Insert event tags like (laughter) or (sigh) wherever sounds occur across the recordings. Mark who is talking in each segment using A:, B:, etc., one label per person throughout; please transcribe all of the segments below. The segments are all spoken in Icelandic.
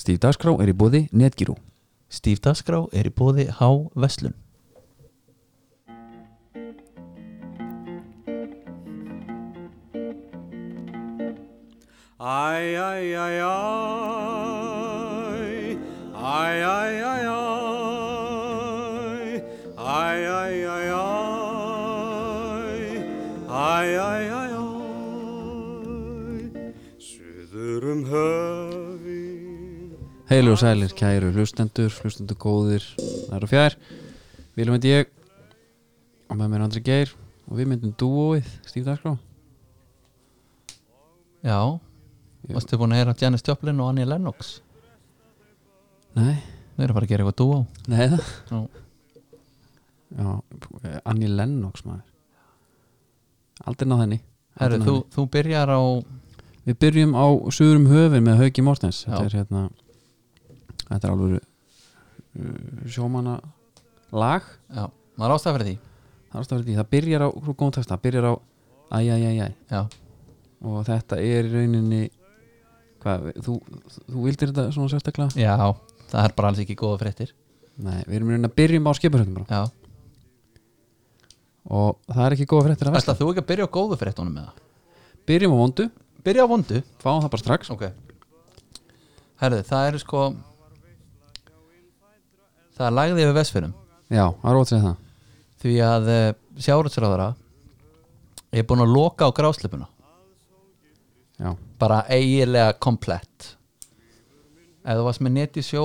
A: Stíf Dagskrá er í bóði Netgyru
B: Stíf Dasgrá er í bóði H. Veslun
C: Æ, æ, æ, æ, æ, æ, æ, æ, æ, æ, æ, æ, æ, æ, æ, æ, suður um höfin.
A: Heilu og sælir, kæru hlustendur, hlustendur góðir Það eru fjær Vilum veit ég Og með mér er Andri Geir Og við myndum dúóið Stíf Dagskrá
B: Já, varstu búin að heyra Janis Joplin og Annie Lennox
A: Nei,
B: Þau eru að fara að gera eitthvað dúo
A: nei það
B: Já.
A: Já, eh, Annie Lennox maður Aldrei náð henni
B: Herru,
A: Aldrei náð
B: þú, þú byrjar á
A: henni. Við byrjum á Suðurum höfin með Hauki Mortens Þetta
B: Já.
A: er hérna Þetta er uh, alveg sjómanna lag
B: Já, maður ástæða fyrir því
A: Það er alltaf verið því, það byrjar á svo góðum texta, það byrjar á æjæjæjæ
B: Já,
A: og þetta er í rauninni hvað, þú, þú vildir þetta svona sérstaklega?
B: já það er bara alls ekki góða fréttir
A: Nei, við erum í rauninni að byrjum á skipurhættum bara
B: Já,
A: og það er ekki góða fréttir að
B: ætla þú ekki að byrja á góðu fréttunum með það
A: versla Byrjum á vondu,
B: Byrja á vondu
A: fáum það bara strax
B: Ok Herðu, það eru sko Það er lagði yfir Vestfjörnum
A: Já, það er ótt segið það
B: Því að sjáruðsraðara er búin að loka á gráslepuna
A: Já,
B: bara eiginlega komplett ef þú varst með neti sjó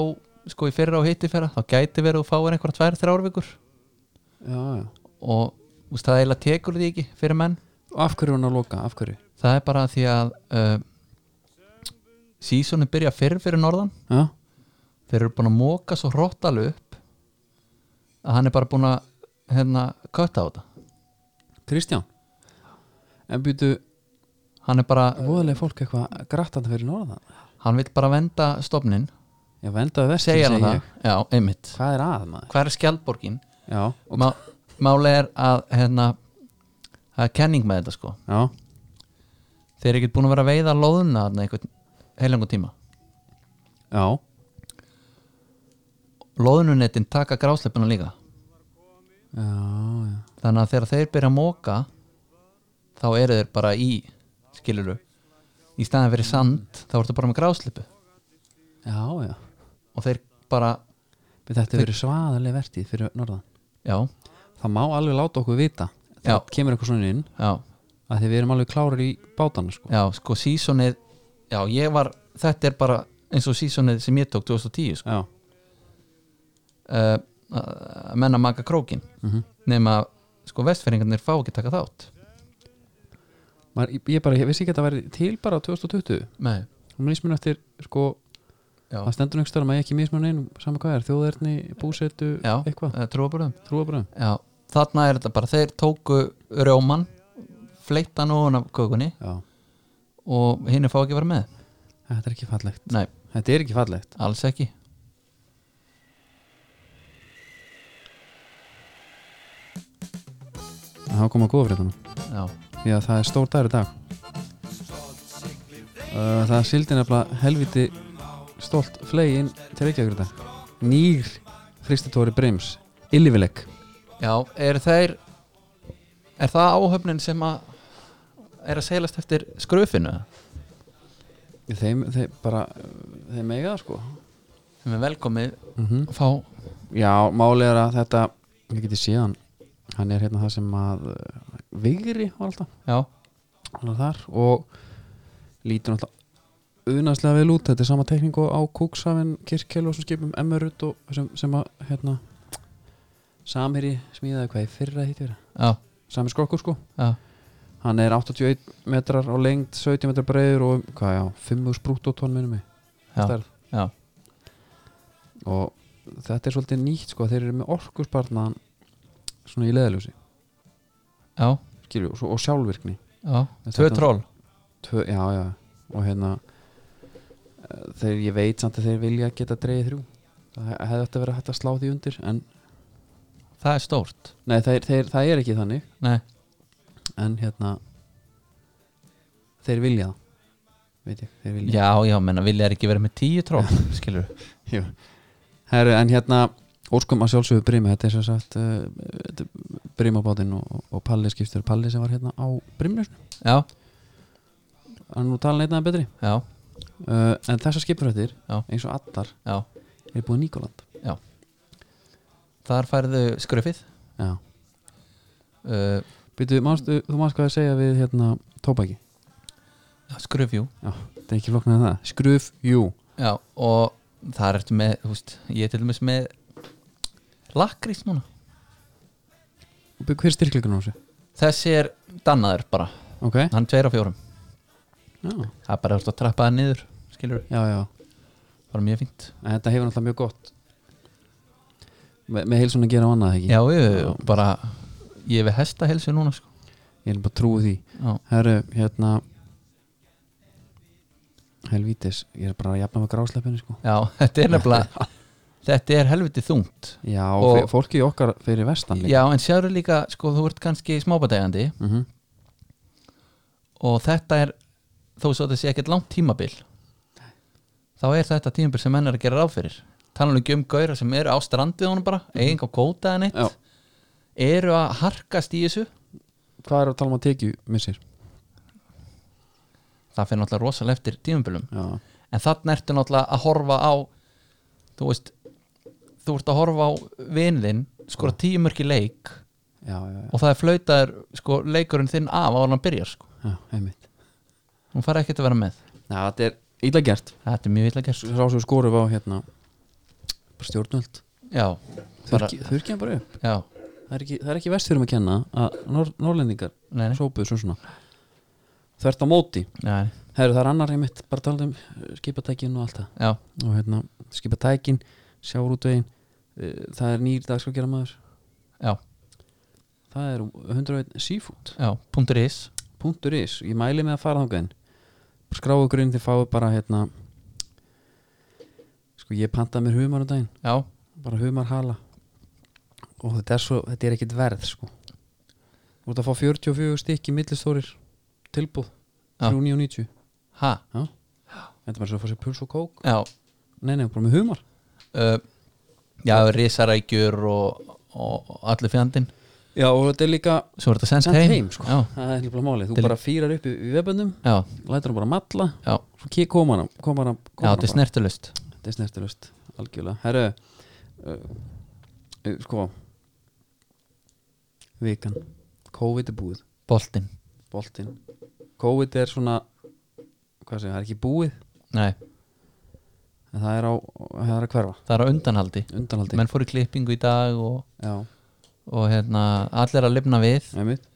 B: sko í fyrra og hitti fyrra þá gæti verið að þú fáir einhverja tvær, þrjár vikur
A: já, já
B: og þú veist, það eiginlega tekur því ekki fyrir menn
A: Og af hverju er hún að loka, af hverju?
B: það er bara því að uh, sísónu byrja fyrr fyrir norðan
A: Já,
B: þeir eru búin að móka svo hrottal upp að hann er bara búin að hérna, kötta á þetta
A: Kristján En býtu,
B: hann er bara,
A: voðalega fólk eitthvað grattandi fyrir norðan
B: hann vil bara venda stofnin,
A: Já, vendaðu versin,
B: segja hann það
A: ég
B: já, einmitt,
A: Hvað er að maður?
B: hvað er skjaldborgin
A: Já, og,
B: Má, máli er að hérna, það er kenning með þetta sko
A: já
B: þeir eru ekki búin að vera að veiða lóðuna þarna einhvern heilangu tíma
A: Já,
B: lóðununettin taka grásleppuna líka
A: já, já
B: þannig að þegar þeir byrja að móka þá eru þeir bara í skiluru, í staðan fyrir sand þá ertu bara með grásleppu
A: Já, já
B: og þeir bara,
A: Við þetta hefur verið svaðarlega vertið fyrir norðan
B: já,
A: Það má alveg láta okkur vita
B: Já.
A: Það kemur eitthvað svona inn
B: já
A: að því við erum alveg klárar í bátana sko.
B: já, sko sísonið já, ég var, þetta er bara eins og sísonið sem ég tók 2010 sko.
A: Já,
B: uh, að menna maka krókin
A: Mhm.
B: nema sko vestfæringarnir fá ekki taka þátt
A: Maður, ég, ég bara, ég vissi ekki að það væri til bara á 2020
B: Nei,
A: og mismun eftir sko
B: já,
A: að stendur einhverstaðar maður ekki mismun einum saman hvað er, þjóðerni, búsetu,
B: já
A: eitthvað
B: eh, trúarbrögðum.
A: trúabröðum
B: já, þarna er þetta bara þeir tóku rjóman fleittan og hann af kökunni
A: Já,
B: og hinn fá ekki að vera með
A: þetta er ekki fallegt
B: Nei,
A: Þetta er ekki fallegt
B: alls ekki
A: En þá koma góða fréttunum
B: já,
A: því að það er stór dagur í dag uh, það sildi nefnilega helviti stolt flegi inn til Reykjavíkur í dag nýr fristitóri Brims Illivileg
B: já, er þeir er það áhöfnin sem að er að seilast eftir skröfinu
A: þeim, þeim bara uh, þeim eiga það sko
B: sem er velkomið
A: mm
B: að fá
A: já, máli er að þetta ég geti síðan hann er hérna það sem að uh, Vigri var alltaf
B: já,
A: hann var þar og lítur alltaf unaðslega vel út, þetta er sama tekningu á Kúksafin, Kirkjel og sem skipum Emmerut og sem, sem að hérna, Samiri smíðaði hvað í fyrra hitt vera,
B: já,
A: Samir Skrokkur sko
B: já,
A: hann er 81 metrar á lengd 17 metrar breiður og um, hvað já 5 sprúttótonn minnum mig
B: já,
A: stærð.
B: já.
A: og þetta er svolítið nýtt sko, þeir eru með orkuspartnaðan svona í leðaljósi
B: já,
A: skilju, og, svo- og sjálfvirkni
B: já.
A: Þetta-
B: tvö tról
A: Tvö, já já, og hérna eh, þeir, ég veit samt að þeir vilja geta dreigið þrjú það he- hefði þetta verið hægt að slá því undir en
B: það er stórt
A: Nei, þeir, þeir, það er ekki þannig
B: Nei.
A: En hérna Þeir vilja það veit ég, þeir vilja
B: Já, já, menna, vilja er ekki verið með tíu trók skilur
A: Jú. Herru, en hérna óskum að sjálfsögðu Brimi, þetta er sem sagt uh, Brimabátinn og, og Palli skiptur Palli sem var hérna á Brimljösnu
B: Já,
A: hann er nú talað einnaðan betri
B: já,
A: uh, en þessar skipurhættir,
B: Já.
A: eins og allar
B: já
A: er búið Nikoland
B: Þar færðu skröfið
A: Já,
B: uh,
A: Býtu, manstu, þú manst hvað að segja við hérna tóbaki,
B: já, Skröfjú
A: þetta er ekki floknað en það Skruf, jú,
B: Já, og þar ertu með, þú veist, ég er til dæmis með lakrís núna
A: Bú, hver er styrkleikunum á þessu?
B: Þessi er dannaður bara,
A: Ok,
B: hann tveir á fjórum
A: já,
B: Það er bara að trappa það niður, skilur
A: já, já
B: bara mjög fínt
A: en þetta hefur náttúrulega mjög gott með, með heilsun að gera á annað, ekki?
B: Já, ég, bara, ég er við hesta helsu núna sko.
A: Ég er bara trúið því
B: Já,
A: Herru, hérna Helvítis, ég er bara að jafna með grásleppinu sko
B: já (laughs) þetta er nefnilega þetta er helviti þungt
A: Já,
B: Og-
A: og fólki okkar fyrir vestan líka
B: Já, en sjáru líka, sko, þú ert kannski smábadægandi
A: Mhm.
B: og þetta er þó svo þetta sé ekkert langt tímabil þá er þetta tímabil sem menn er að gera ráð fyrir talan ekki um gauðra sem eru á strandið honum bara, eigin á kóta en eitt
A: Já.
B: eru að harkast í þessu
A: Hvað er að tala um að tekju, missir?
B: það fyrir náttúrulega rosalega eftir tímabilum
A: Já,
B: en þannig ertu náttúrulega að horfa á þú veist þú ert að horfa á vinðin skora tíu mörki leik
A: já, já, já,
B: og það er flautaður sko, leikurinn þinn af ára hann byrjar sko.
A: já einmitt
B: hún fari ekkert að vera með
A: Já, þetta er illa gert
B: þetta er mjög illa gert sko.
A: Sá sem skoruf á hérna bara stjórnvöld
B: já, bara,
A: Þurkja bara upp
B: já,
A: Það er ekki, það er ekki vest fyrir um að kenna að nor norlendingar
B: nei, nei,
A: sópuðu svo svona Þvert á móti
B: nei,
A: Herru, það er annar einmitt, bara talað um eh, skipatækin og allt það
B: já,
A: og hérna skipa tækin sjárútvegin uh, það er nýr dagskrafgjara maður
B: já,
A: það er um 101 seafood
B: já, punktur is
A: punktur is, ég mæli með að fara þangað inn Bara skráðu ykkur inn þið fáið bara hérna sko ég pantaði mér humar um daginn
B: já,
A: bara humar hala og þetta er svo, þetta er ekkit verð sko þú ert að fá 44 stykki millistórir tilbúð
B: Já.
A: 3.90
B: ha,
A: þetta er bara svo að fá sér puls og kók
B: já
A: nei nei, bara með humar
B: uh, já, risarækjur og, og, og allir fjandinn
A: já og þetta er líka
B: svo er þetta sendt
A: sent
B: heim,
A: heim sko.
B: já,
A: það er nefnilega málið, þú
B: Til-
A: bara fýrar upp í, í vefböndum
B: já,
A: lætur hann bara matla,
B: já,
A: svo kík koma hann koma hann,
B: já,
A: koma
B: þetta er snertilust
A: þetta er snertilust, algjörlega herru uh, uh, sko vikan, COVID er búið
B: boltinn,
A: boltinn, COVID er svona hvað segja, það er ekki búið
B: nei,
A: en það er, á, það er að hverfa,
B: það er á undanhaldi
A: undanhaldi
B: menn fóru í klippingu í dag og,
A: já,
B: og hérna, allir að lifna við
A: einmitt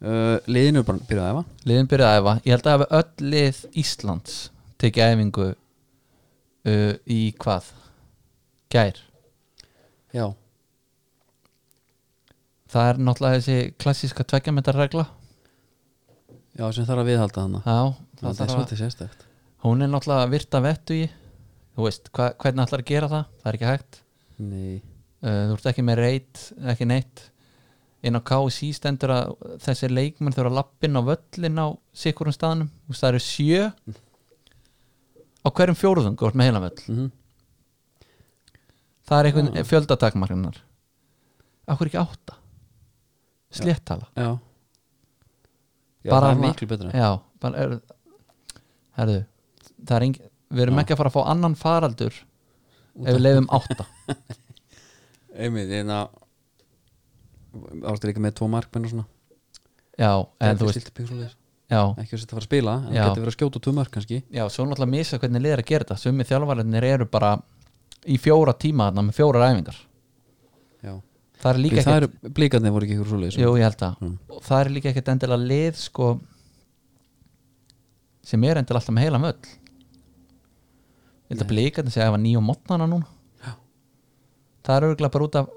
A: uh, liðinu er bara byrjaði að efa
B: liðin byrjaði að æfa, ég held að hafa öll lið Íslands tekið æfingu uh, í hvað gær
A: já,
B: það er náttúrulega þessi klassíska tveggjametarregla
A: já, sem þarf að viðhalda þannig
B: já, það
A: það er
B: þarf að,
A: svolítið sérstækt
B: hún er náttúrulega að virta vettu í þú veist, hva, hvernig ætlar að gera það það er ekki hægt,
A: nei,
B: uh, þú ert ekki með reyt ekki neitt inn á KSI stendur að þessir leikmenn þurfa að lappin á völlin á sikurum staðanum, þú veist það eru sjö á hverjum fjóruðum górt með heila völl
A: mhm
B: það er einhvern ja. fjöldatakmarkinar okkur ekki átta sléttala
A: Já, já
B: Bara
A: það er
B: ma-
A: miklu betra
B: já, bara er, herðu, það er engin við erum
A: Já.
B: ekki að fara að fá annan faraldur
A: Út
B: ef við leifum
A: (laughs)
B: átta
A: Einmitt, en að Ástu líka með tvo markmenn og svona
B: já,
A: Það er
B: en þú
A: ekki
B: veist
A: stillt upp í svoleiðis.
B: já,
A: Ekki að setja að fara að spila En
B: Já.
A: það getur verið að skjóta tvö mark kannski
B: já, svo náttúrulega misa hvernig liðir að gera þetta sumi þjálfararnir eru bara í fjóra tíma þarna með fjóra ræfingar
A: Já
B: það er líka
A: Það eru blíkarnir voru ekki ykkur svoleiðis
B: Jú, ég held það
A: Mm.
B: og það er líka ekkert endilega lið sko sem er endilega alltaf með heila möll ég held að blika þetta segja að það var nýjum mótnana núna
A: Já.
B: það er örgulega bara út af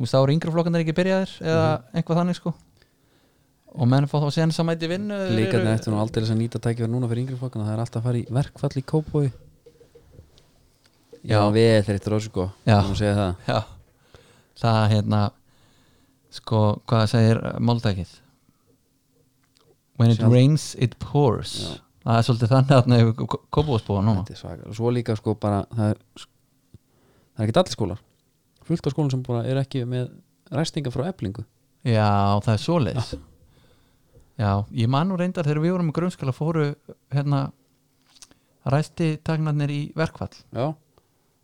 B: þú veist þá eru yngri flokkan ekki byrjaðir eða
A: Mhm.
B: eitthvað þannig sko og menn fá þá sen samæti vinnu þeir
A: Blíkarnir
B: eru-
A: eftir nú aldrei að nýta tækifæri núna fyrir yngri flokkana Það er alltaf að fara í verkfall í kópói Já,
B: Já.
A: við þeir eftir þessu sko
B: Já.
A: Nú segja það
B: Já, það hérna sko, hvað segir máltækið When it
A: Sjálf-
B: rains, it pours
A: Já.
B: það er svolítið þannig að það hefur kópúðsbúa núna
A: Þetta er svaka. Svo líka sko bara það er, það er ekki allir skólar fullt af skólum sem bara er ekki með ræstinga frá eblingu
B: Já, það er svoleiðis Já, ég man nú reyndar þegar við vorum í grunnskóla fóru hérna ræsti tagnarnir í verkfall
A: Já,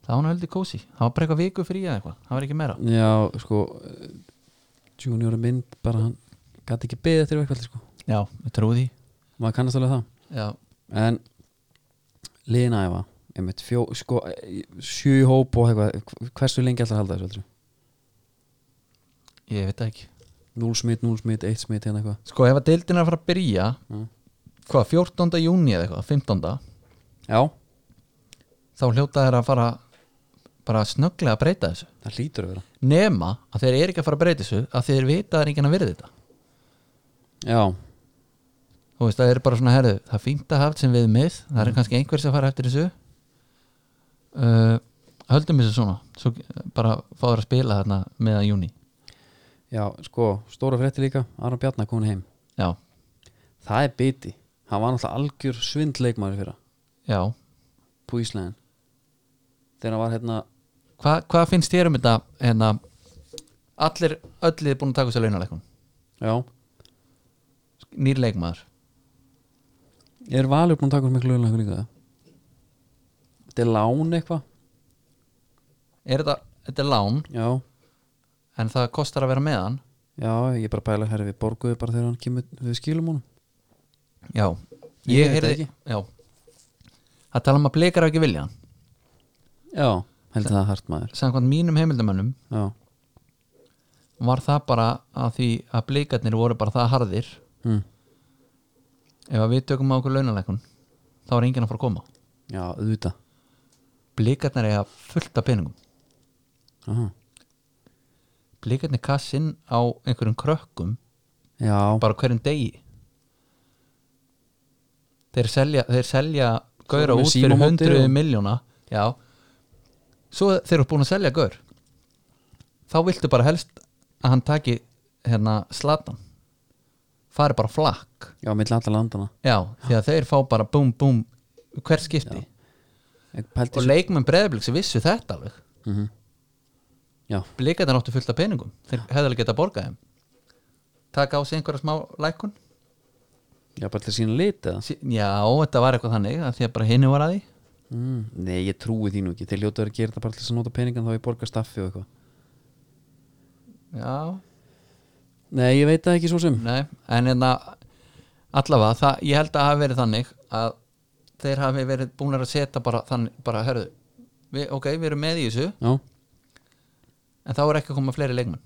B: það var nú heldur kósi, það var bara eitthvað viku frí eða eitthvað, það var ekki meira
A: Já sko eh, junior minn bara hann gæti ekki beðið til verkvalli sko
B: Já, ég trúi því
A: maður kannast alveg það
B: Já,
A: en Lina Eva einmitt fjó, sko, eh, sjö í hóp og eitthvað hversu lengi ætlar að halda þessu heldur
B: ég veit það ekki
A: 0 smitt, 0 smitt, 1 smitt hérna eitthvað
B: Sko, ef að deildin er að fara að byrja
A: Mm.
B: hvað, 14. júni eða eitthvað, 15.
A: Já,
B: þá hljóta þeir að fara bara snögglega að breyta þessu
A: það hlýtur að vera
B: nema að þeir eru ekki að fara að breyta þessu að þeir vita að það er enginn að virði þetta
A: Já,
B: þú veist það er bara svona herðu það er fínt að hafa sem við mið það er kannski einhver sem fara eftir þessu uh, höldum þessu svona svo bara fáður að spila þarna meðan júni
A: já, sko stóra frétti líka, Aron Bjarnar komin heim
B: já,
A: það er biti, hann var náttúrulega algjör svindleikmaður fyrir
B: já
A: på Íslandin þegar hann var hérna
B: Hva, hvað finnst þér um þetta hérna, allir öllir búin að taka þessu launaleikun
A: já,
B: nýr leikmaður
A: er Valur búin að taka um miklu lögulega líka það þetta er lán eitthvað
B: er þetta, þetta er lán
A: já,
B: en það kostar að vera með hann
A: já, ég er bara að pæla herri við borguðu bara þegar hann kemur við skilum honum
B: já,
A: Ég
B: ég
A: veit það
B: heyrði já, það tala um að blikar á ekki vilja hann
A: já, heldur það hart maður
B: samkvæmt mínum heimildamönnum
A: já,
B: var það bara að því að blikarnir voru bara það harðir
A: hm.
B: ef að við tökum á okkur launalækun þá er enginn að fara að koma
A: já, auðvitað
B: blikarnir eiga fullt af peningum
A: Aha.
B: blikarnir kassinn á einhverjum krökkum
A: já,
B: bara á hverjum degi þeir selja, þeir selja gauðra
A: með
B: út fyrir
A: símamóti
B: 100
A: og-
B: miljóna já svo þeir eru búin að selja gaur þá viltu bara helst að hann taki hérna slatan fari bara á flakk
A: já, milli allra landana
B: Já, því að þeir fá bara búm búm hver skipti
A: Ég pældi
B: og
A: svo-
B: leikmenn breyðabliks vissu þetta alveg
A: Mhm. já,
B: blikaðan áttu fullt af peningum þeir hefðu alveg getað borgað þeim taka á sig einhverja smá lækun
A: já, bara til að sína lit eða
B: sí, Já, þetta var eitthvað þannig að því að bara hinni var að því
A: mm. nei, ég trúi því nú ekki, þeir ljótaður að gera þetta bara til þess að nota peningan þá ég borga staffi og eitthvað
B: Já,
A: nei, ég veit það ekki svo sem
B: nei, en hérna allavega, það, ég held að hafi verið þannig að þeir hafi verið búin að setja bara þannig, bara herðu við, ok, við erum með í þessu
A: já, er
B: en þá er ekki að koma fleiri leikmenn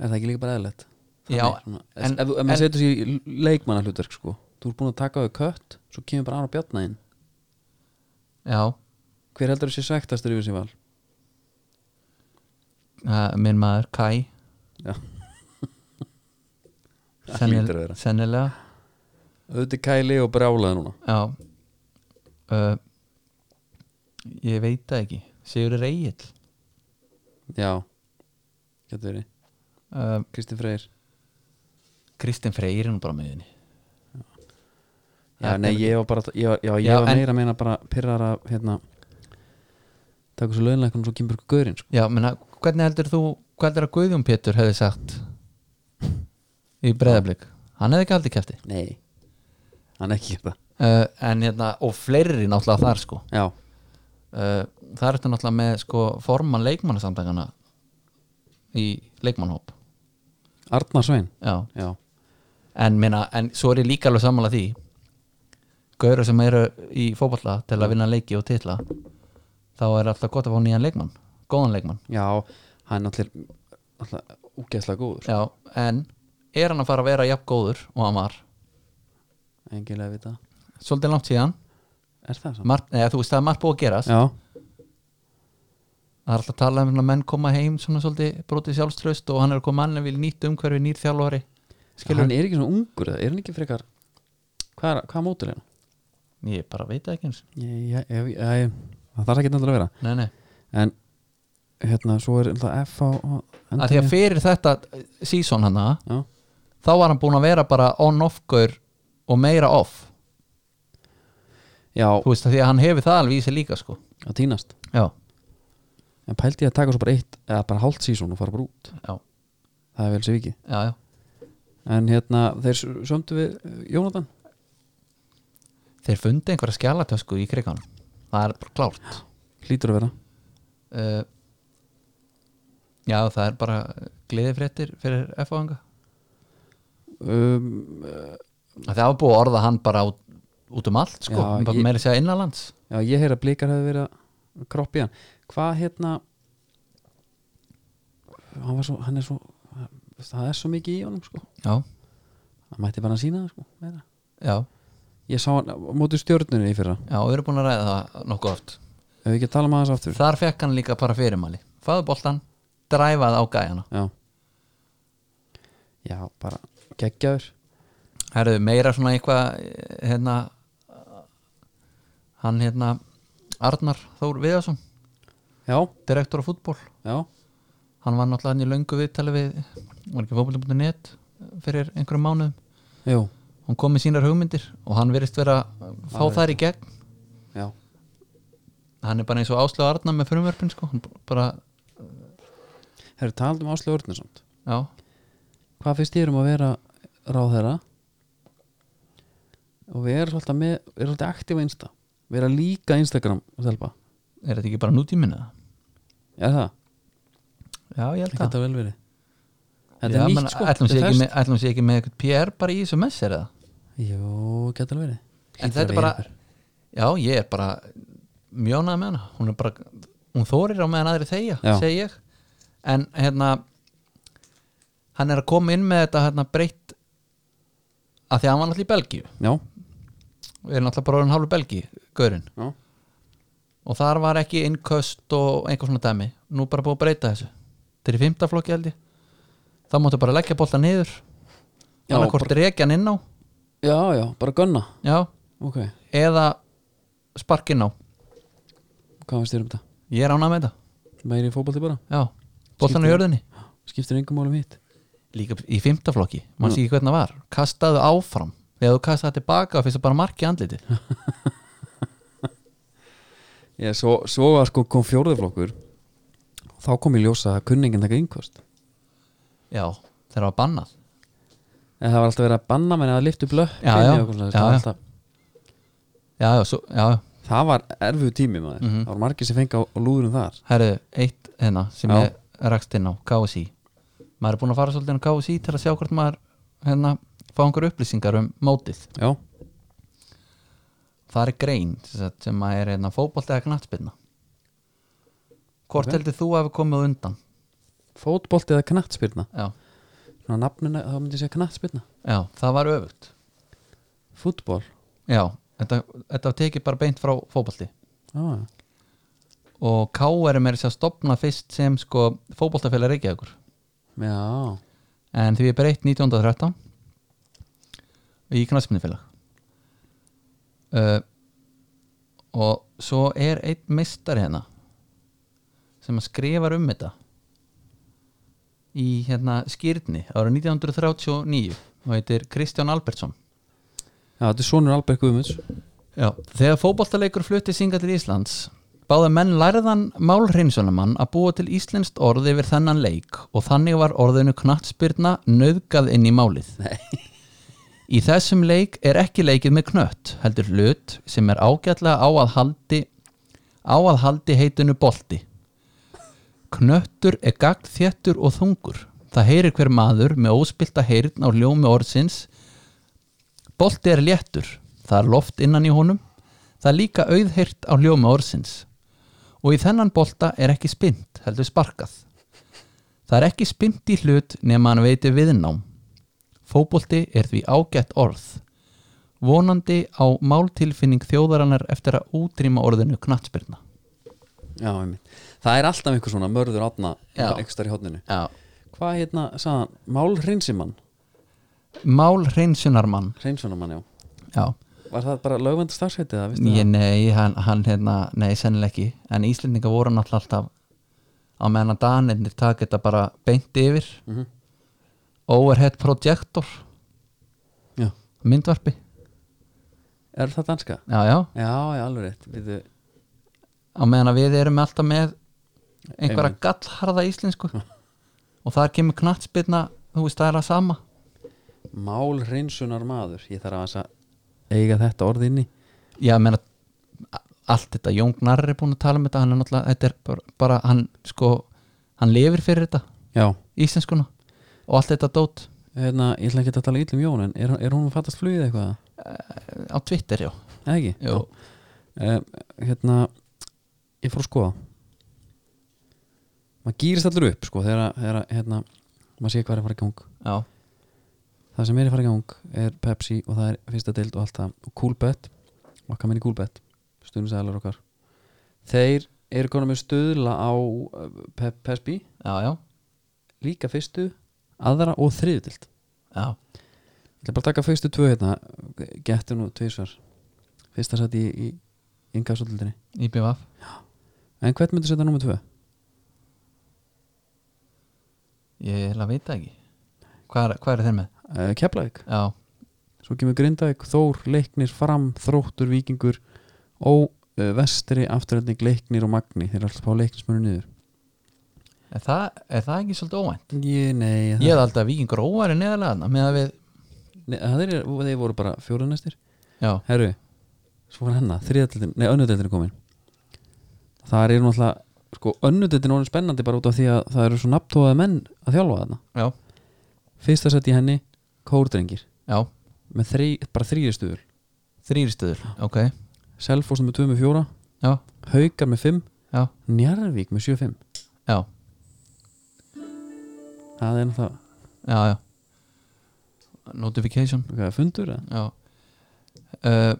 A: það ekki líka bara eðlilegt
B: Já,
A: Þannig, svona,
B: en-
A: ef, ef
B: en-
A: maður setur sér í leikmanna hlutverk sko. þú ert búin að taka á þau kött svo kemur bara Aron Bjarna inn
B: Já,
A: hver heldur þessi svektastur yfir sér val
B: uh, minn maður Kai
A: Já. Það hlýtur að
B: Sennil,
A: vera.
B: (laughs) sennilega
A: auðvitað kæli og brjálaði núna
B: já uh, ég veit það ekki Sigur Reyil
A: já, getur verið
B: uh,
A: Kristinn Freyr
B: Kristinn Freyr er nú bara með henni
A: já, nei, ég var bara ég var, já, ég
B: Já,
A: var
B: en-
A: meira að meina bara pyrrar að hérna taka svo lögnleikun og svo kemur ykkur gaurinn sko.
B: já, menna, hvernig heldur þú hvað heldur að Guðjón Pétur hefði sagt í breðablík hann hefði ekki haldið kæfti
A: nei, hann ekki gert það
B: uh, en hérna, og fleiri náttúrulega þar sko
A: já,
B: uh, það er þetta náttúrulega með sko forman leikmannasamtakana í leikmannhóp
A: Arnar Svein
B: já,
A: já,
B: en, minna, en svo er ég líka alveg sammála því Gauru sem eru í fótballa til að vinna leiki og titla þá er alltaf gott að fá nýjan leikmann góðan leikmann
A: já hann allir allir úgeðslega góður
B: já, en er hann að fara að vera jafn góður og hann var
A: engilega við það
B: svolítið langt síðan
A: er það saman?
B: margt, eða, þú veist það er margt búið að gerast
A: já,
B: það er alltaf að tala um að menn koma heim svona svolítið brotið sjálfströst og hann er að koma annar vil nýtt umhverfi nýr þjálfari
A: Skilur.
B: skilur
A: hann er ekki svona ungur eða er hann ekki frekar hvað, er- hvað mótur hérna?
B: ég bara veit það ekki eins
A: Ég, ég, ég, ég, það þarf ekki náttúrulega að vera
B: nei, nei.
A: en hérna svo er alltaf F á á
B: að því að
A: endingu.
B: fyrir þetta sísón hann
A: já,
B: þá var hann búin að vera bara on-off gaur og meira off
A: já,
B: þú veist að því að hann hefur það alveg í sig líka sko
A: að týnast
B: já,
A: en pældi ég að taka svo bara eitt eða bara hálft sísón og fara bara út
B: já,
A: það er vel sér vikið
B: já, já.
A: en hérna þeir sömdu við eh, Jónatan
B: þeir fundi einhverja skjálatösku í kriganum það er bara klárt
A: hlýtur að vera
B: uh, já, það er bara gleðifréttir fyrir F.A.N.G.
A: um,
B: það var búið að orða hann bara út, út um allt sko,
A: Já,
B: bara
A: ég-
B: meira að segja innanlands
A: já, ég heyr að blikar hefði verið að kroppa í hann hvað hérna hann, var svo, hann er svo það er svo mikið í honum sko
B: já,
A: hann mætti bara að sína það sko meira.
B: já, ég
A: ég sá hann á móti stjórnunni í fyrra
B: Já, við erum búin að ræða það nokkuð oft
A: ef við ekki að tala um aðeins aftur
B: Þar fekk hann líka bara fyrirmæli Fáðu boltan, dræfað á gæjana
A: já já, bara geggjaður
B: Herðu, meira svona eitthvað eh, hérna hann hérna Arnar Þór Viðarsson,
A: já,
B: direktor á fútból
A: já,
B: hann var náttúrulega hann í löngu viðtali við var ekki fótbolta.net fyrir einhverjum mánuðum
A: jú
B: hann kom með sínar hugmyndir og hann virðist vera að fá
A: Það er
B: þær í gegn
A: já,
B: hann er bara eins og Áslega Arnar með frumverfin sko, hann bara,
A: þeir eru talað um Áslu Örnisamt
B: já,
A: hvað finnst ég um að vera ráð þeirra og við erum svolítið með, við erum svolítið aktífa einsta við erum líka Instagram stelpa.
B: er þetta ekki bara nútíminna?
A: er það?
B: Já, ég held
A: Ekki
B: að
A: þetta vel verið þetta
B: Já,
A: er
B: menn,
A: nýtt sko,
B: ætlum sé
A: þetta
B: ekki
A: er
B: með- ætlum sé ekki með eitthvað PR bara í þessu messir eða
A: ferskt. jú, geta vel verið
B: en
A: Hlýtur að
B: þetta er bara
A: vera.
B: já ég er bara mjónað með hana hún er bara hún þórir á meðan aðri þegja
A: Já.
B: segi ég en hérna hann er að koma inn með þetta hérna breytt að því að hann var náttúrulega í Belgíu
A: já,
B: við erum náttúrulega bara orðin hálfur Belgíu gaurinn
A: já,
B: og þar var ekki innköst og einhver svona dæmi nú bara búið að breyta þessu þetta er í fymta flokki held ég það máttu bara leggja bolta niður
A: Já,
B: annað hvort reykja hann inn á
A: já, já, bara gunna
B: já,
A: ok,
B: eða spark inn á
A: hvað finnst þér um þetta?
B: ég er ánað með þetta
A: meiri fótbolti bara,
B: Já, boltan á
A: Skiptir-
B: jörðinni
A: skiptir engum málum hitt
B: Líka í fymta flokki, maður sé ekki hvernig það var Kastaðu áfram, þegar þú kastaði tilbaka finnst það bara marki andliti
A: Já, svo, svo var sko kom fjórðuflokkur og þá kom ég ljósa að kunningin taka yngvast
B: Já, þegar það var bannað
A: en það var alltaf verið að banna menn að lyftu blöpp
B: Já, já. Já, já.
A: já.
B: Já, já, svo, já, já.
A: það var erfuð tími maður
B: Mhm.
A: það var margir sem fengi á, á lúðurum þar
B: herðu, eitt hérna sem
A: Já.
B: ég rakst inn á, KSI Maður er búin að fara svolítið inn á KSI til að sjá hvort maður hérna, fá einhver upplýsingar um mótið
A: já,
B: Það er grein sem, sagt, sem maður er hérna, fótbolt eða knattspilna Hvort
A: Ok.
B: heldur þú hafi komið á undan?
A: fótbolti eða knattspyrna
B: Já,
A: svona nafnuna, þá myndi ég segja knattspyrna
B: já, það var öfugt
A: fútbol,
B: Já, þetta, þetta var tekið bara beint frá fótbolti
A: já, já.
B: og K.R. er meira sér að stopna fyrst sem sko fótboltafélag Reykjavíkur
A: já,
B: en því er breytt 1913 í knarspinnifélag uh, og svo er einn meistari hérna sem að skrifar um þetta í hérna skýrni ára 1939 og heitir Kristján Albertsson
A: já, þetta er sonur Albert Guðmunds
B: Já, þegar fótboltaleikur flutti singa til Íslands báða menn lærðan málhreinsunumann að búa til íslenskt orð yfir þennan leik og þannig var orðinu knattspyrna nöðgað inn í málið
A: Nei.
B: Í þessum leik er ekki leikið með knött heldur hlut sem er ágætlega á að haldi á að haldi heitinu bolti Knöttur er gagn þéttur og þungur Það heyrir hver maður með óspilta heyrn á ljómi orðsins Bolti er léttur, það er loft innan í honum, það er líka auðheyrt á hljóma orðsins. Og í þennan bolta er ekki spynt, heldur sparkað. Það er ekki spynt í hlut nema hann veiti viðnám. Fóbolti er því ágætt orð. Vonandi á máltilfinning þjóðarannar eftir að útrýma orðinu knattspyrna.
A: já, einmitt. það er alltaf einhver svona mörður átna
B: Já.
A: ekstar í hodninu
B: Já.
A: hvað hérna, sagðan, Mál Hreinsimann
B: Mál hreinsunarmann.
A: Hreinsunamann, já
B: Já.
A: var það bara lögvend starfsheitið, það vistu
B: Ég, nei, hann, hann hérna, nei, sennilega ekki en Íslendinga voru náttúrulega alltaf á meðan að Danirnir taka þetta bara beint yfir
A: Mhm.
B: overhead projector
A: það já.
B: myndvarpi
A: Er það danska?
B: já, já,
A: Já, já, alveg rétt Býtu,
B: á meðan að við erum alltaf með einhverja
A: Einmitt.
B: gallharða íslensku (laughs) og þar kemur knattspilna þú veist það er að sama
A: Mál hreinsunar maður Ég þarf aðeins að eiga þetta orð inni
B: já, ég meina a- allt þetta, Jón Gnarr er búin að tala um þetta hann er náttúrulega, þetta er bara, bara hann sko, hann lifir fyrir þetta
A: Já,
B: íslenskuna og allt þetta dót
A: hérna, ég ætla ekki að tala ítlum Jón en er, er hún að fattast flugið eitthvað?
B: á Twitter, já,
A: Eða ekki?
B: já.
A: Eh, Hérna, ég fór að skoða Maður gýrist allur upp sko þegar, að- þegar að, hérna, maður sé hvað er að fara í gang
B: já.
A: Það sem er að fara í gang er Pepsi og það er fyrsta deild og allt það og Coolbet, okkar minni Coolbet stundisæðalar okkar Þeir eru konar með stöðla á eh, Pe Pepsi,
B: já, já,
A: líka fyrstu aðra og þriðu deild
B: já
A: Ég ætla bara að taka fyrstu tvö hérna getur nú tvisvar fyrsta sætti í, í yngafsóldildinni
B: IPVF
A: En hvern myndir setja nummer tvö?
B: ég er að vita ekki hvað er, hvað er þeir með?
A: Uh, Keflavík,
B: já,
A: svo kemur Grindavík Þór, Leiknir, Fram, Þróttur, Víkingur og uh, Vestri afturöldning Leiknir og Magni þeir eru alltaf að fá leiknismönu niður
B: er það, er það ekki svolítið óvænt?
A: Ég, nei,
B: ég hefði alltaf að Víkingur óværi neðarlega þarna, með að við,
A: Nei, það er, þeir voru bara fjóra næstir
B: já,
A: Herru, svo var hennar þriðadeldin, nei önnudeldin er komin Það eru náttúrulega sko, önnudeldin er orðin spennandi bara út af því að það eru svo nafntóðaði menn að þjálfa þarna
B: já,
A: Fyrsta sett í henni, Kórdrengir
B: já
A: með þrý, bara þrýðistuður
B: þrýrstöður, ok,
A: Selfoss með 2 með 4,
B: já,
A: Haukar með 5
B: já,
A: Njarðvík með 7-5
B: já
A: Það er náttúrulega
B: já, já notification
A: hvað, fundur eða?
B: já uh,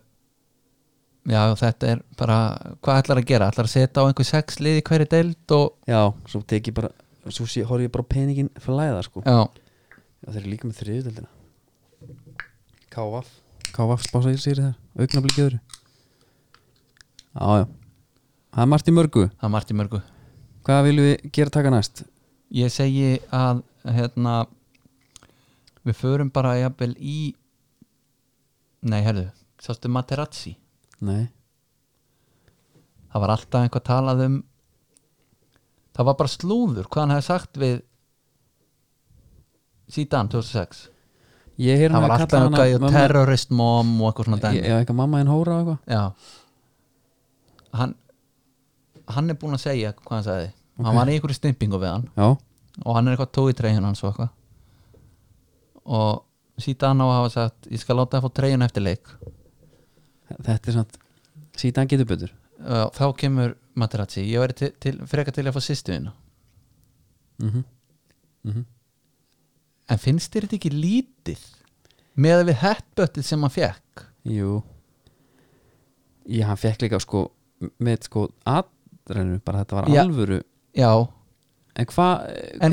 B: já, þetta er bara hvað ætlar að gera, ætlar að setja á einhver sex lið í hverju deild og
A: Já, svo tek ég bara Svo sé, horf ég bara á peningin flæða sko
B: já,
A: Já, þeir eru líka með þriðutöldina K.V.A.F K.V.A.F spása ég sér þar, augnablik öðru Já, já Það er margt í mörgu,
B: það er margt í mörgu
A: hvað viljum við gera taka næst?
B: ég segi að hérna við förum bara jafnvel í nei, herðu, sástu Materazzi
A: Nei,
B: það var alltaf einhvað talað um það var bara slúður hvað hann hefði sagt við síðan 2006
A: ég heyr
B: það
A: hann
B: var
A: að
B: alltaf
A: kalla
B: einhvað
A: hana
B: mömmu... terrorist mom og eitthvað svona dæmi
A: Já, eitthvað mamma en hóra og eitthvað
B: já hann, hann er búinn að segja hvað hann sagði hann var í einhverju stimpingu við hann
A: Já,
B: og hann er eitthvað tói treyjun hans og eitthvað og síðan á að hafa sagt ég skal láta það fá treyjun eftir leik
A: þetta er samt Síðan getur betur
B: Uh, þá kemur Materazzi ég væri til, til, frekar til að fá sýstuðina
A: mm -hmm.
B: en finnst þér þetta ekki lítið með að við hettböttið sem hann fekk
A: Jú Já, hann fekk líka sko með sko aðrennu bara þetta var
B: Já.
A: alvöru
B: já,
A: En hvað,
B: En-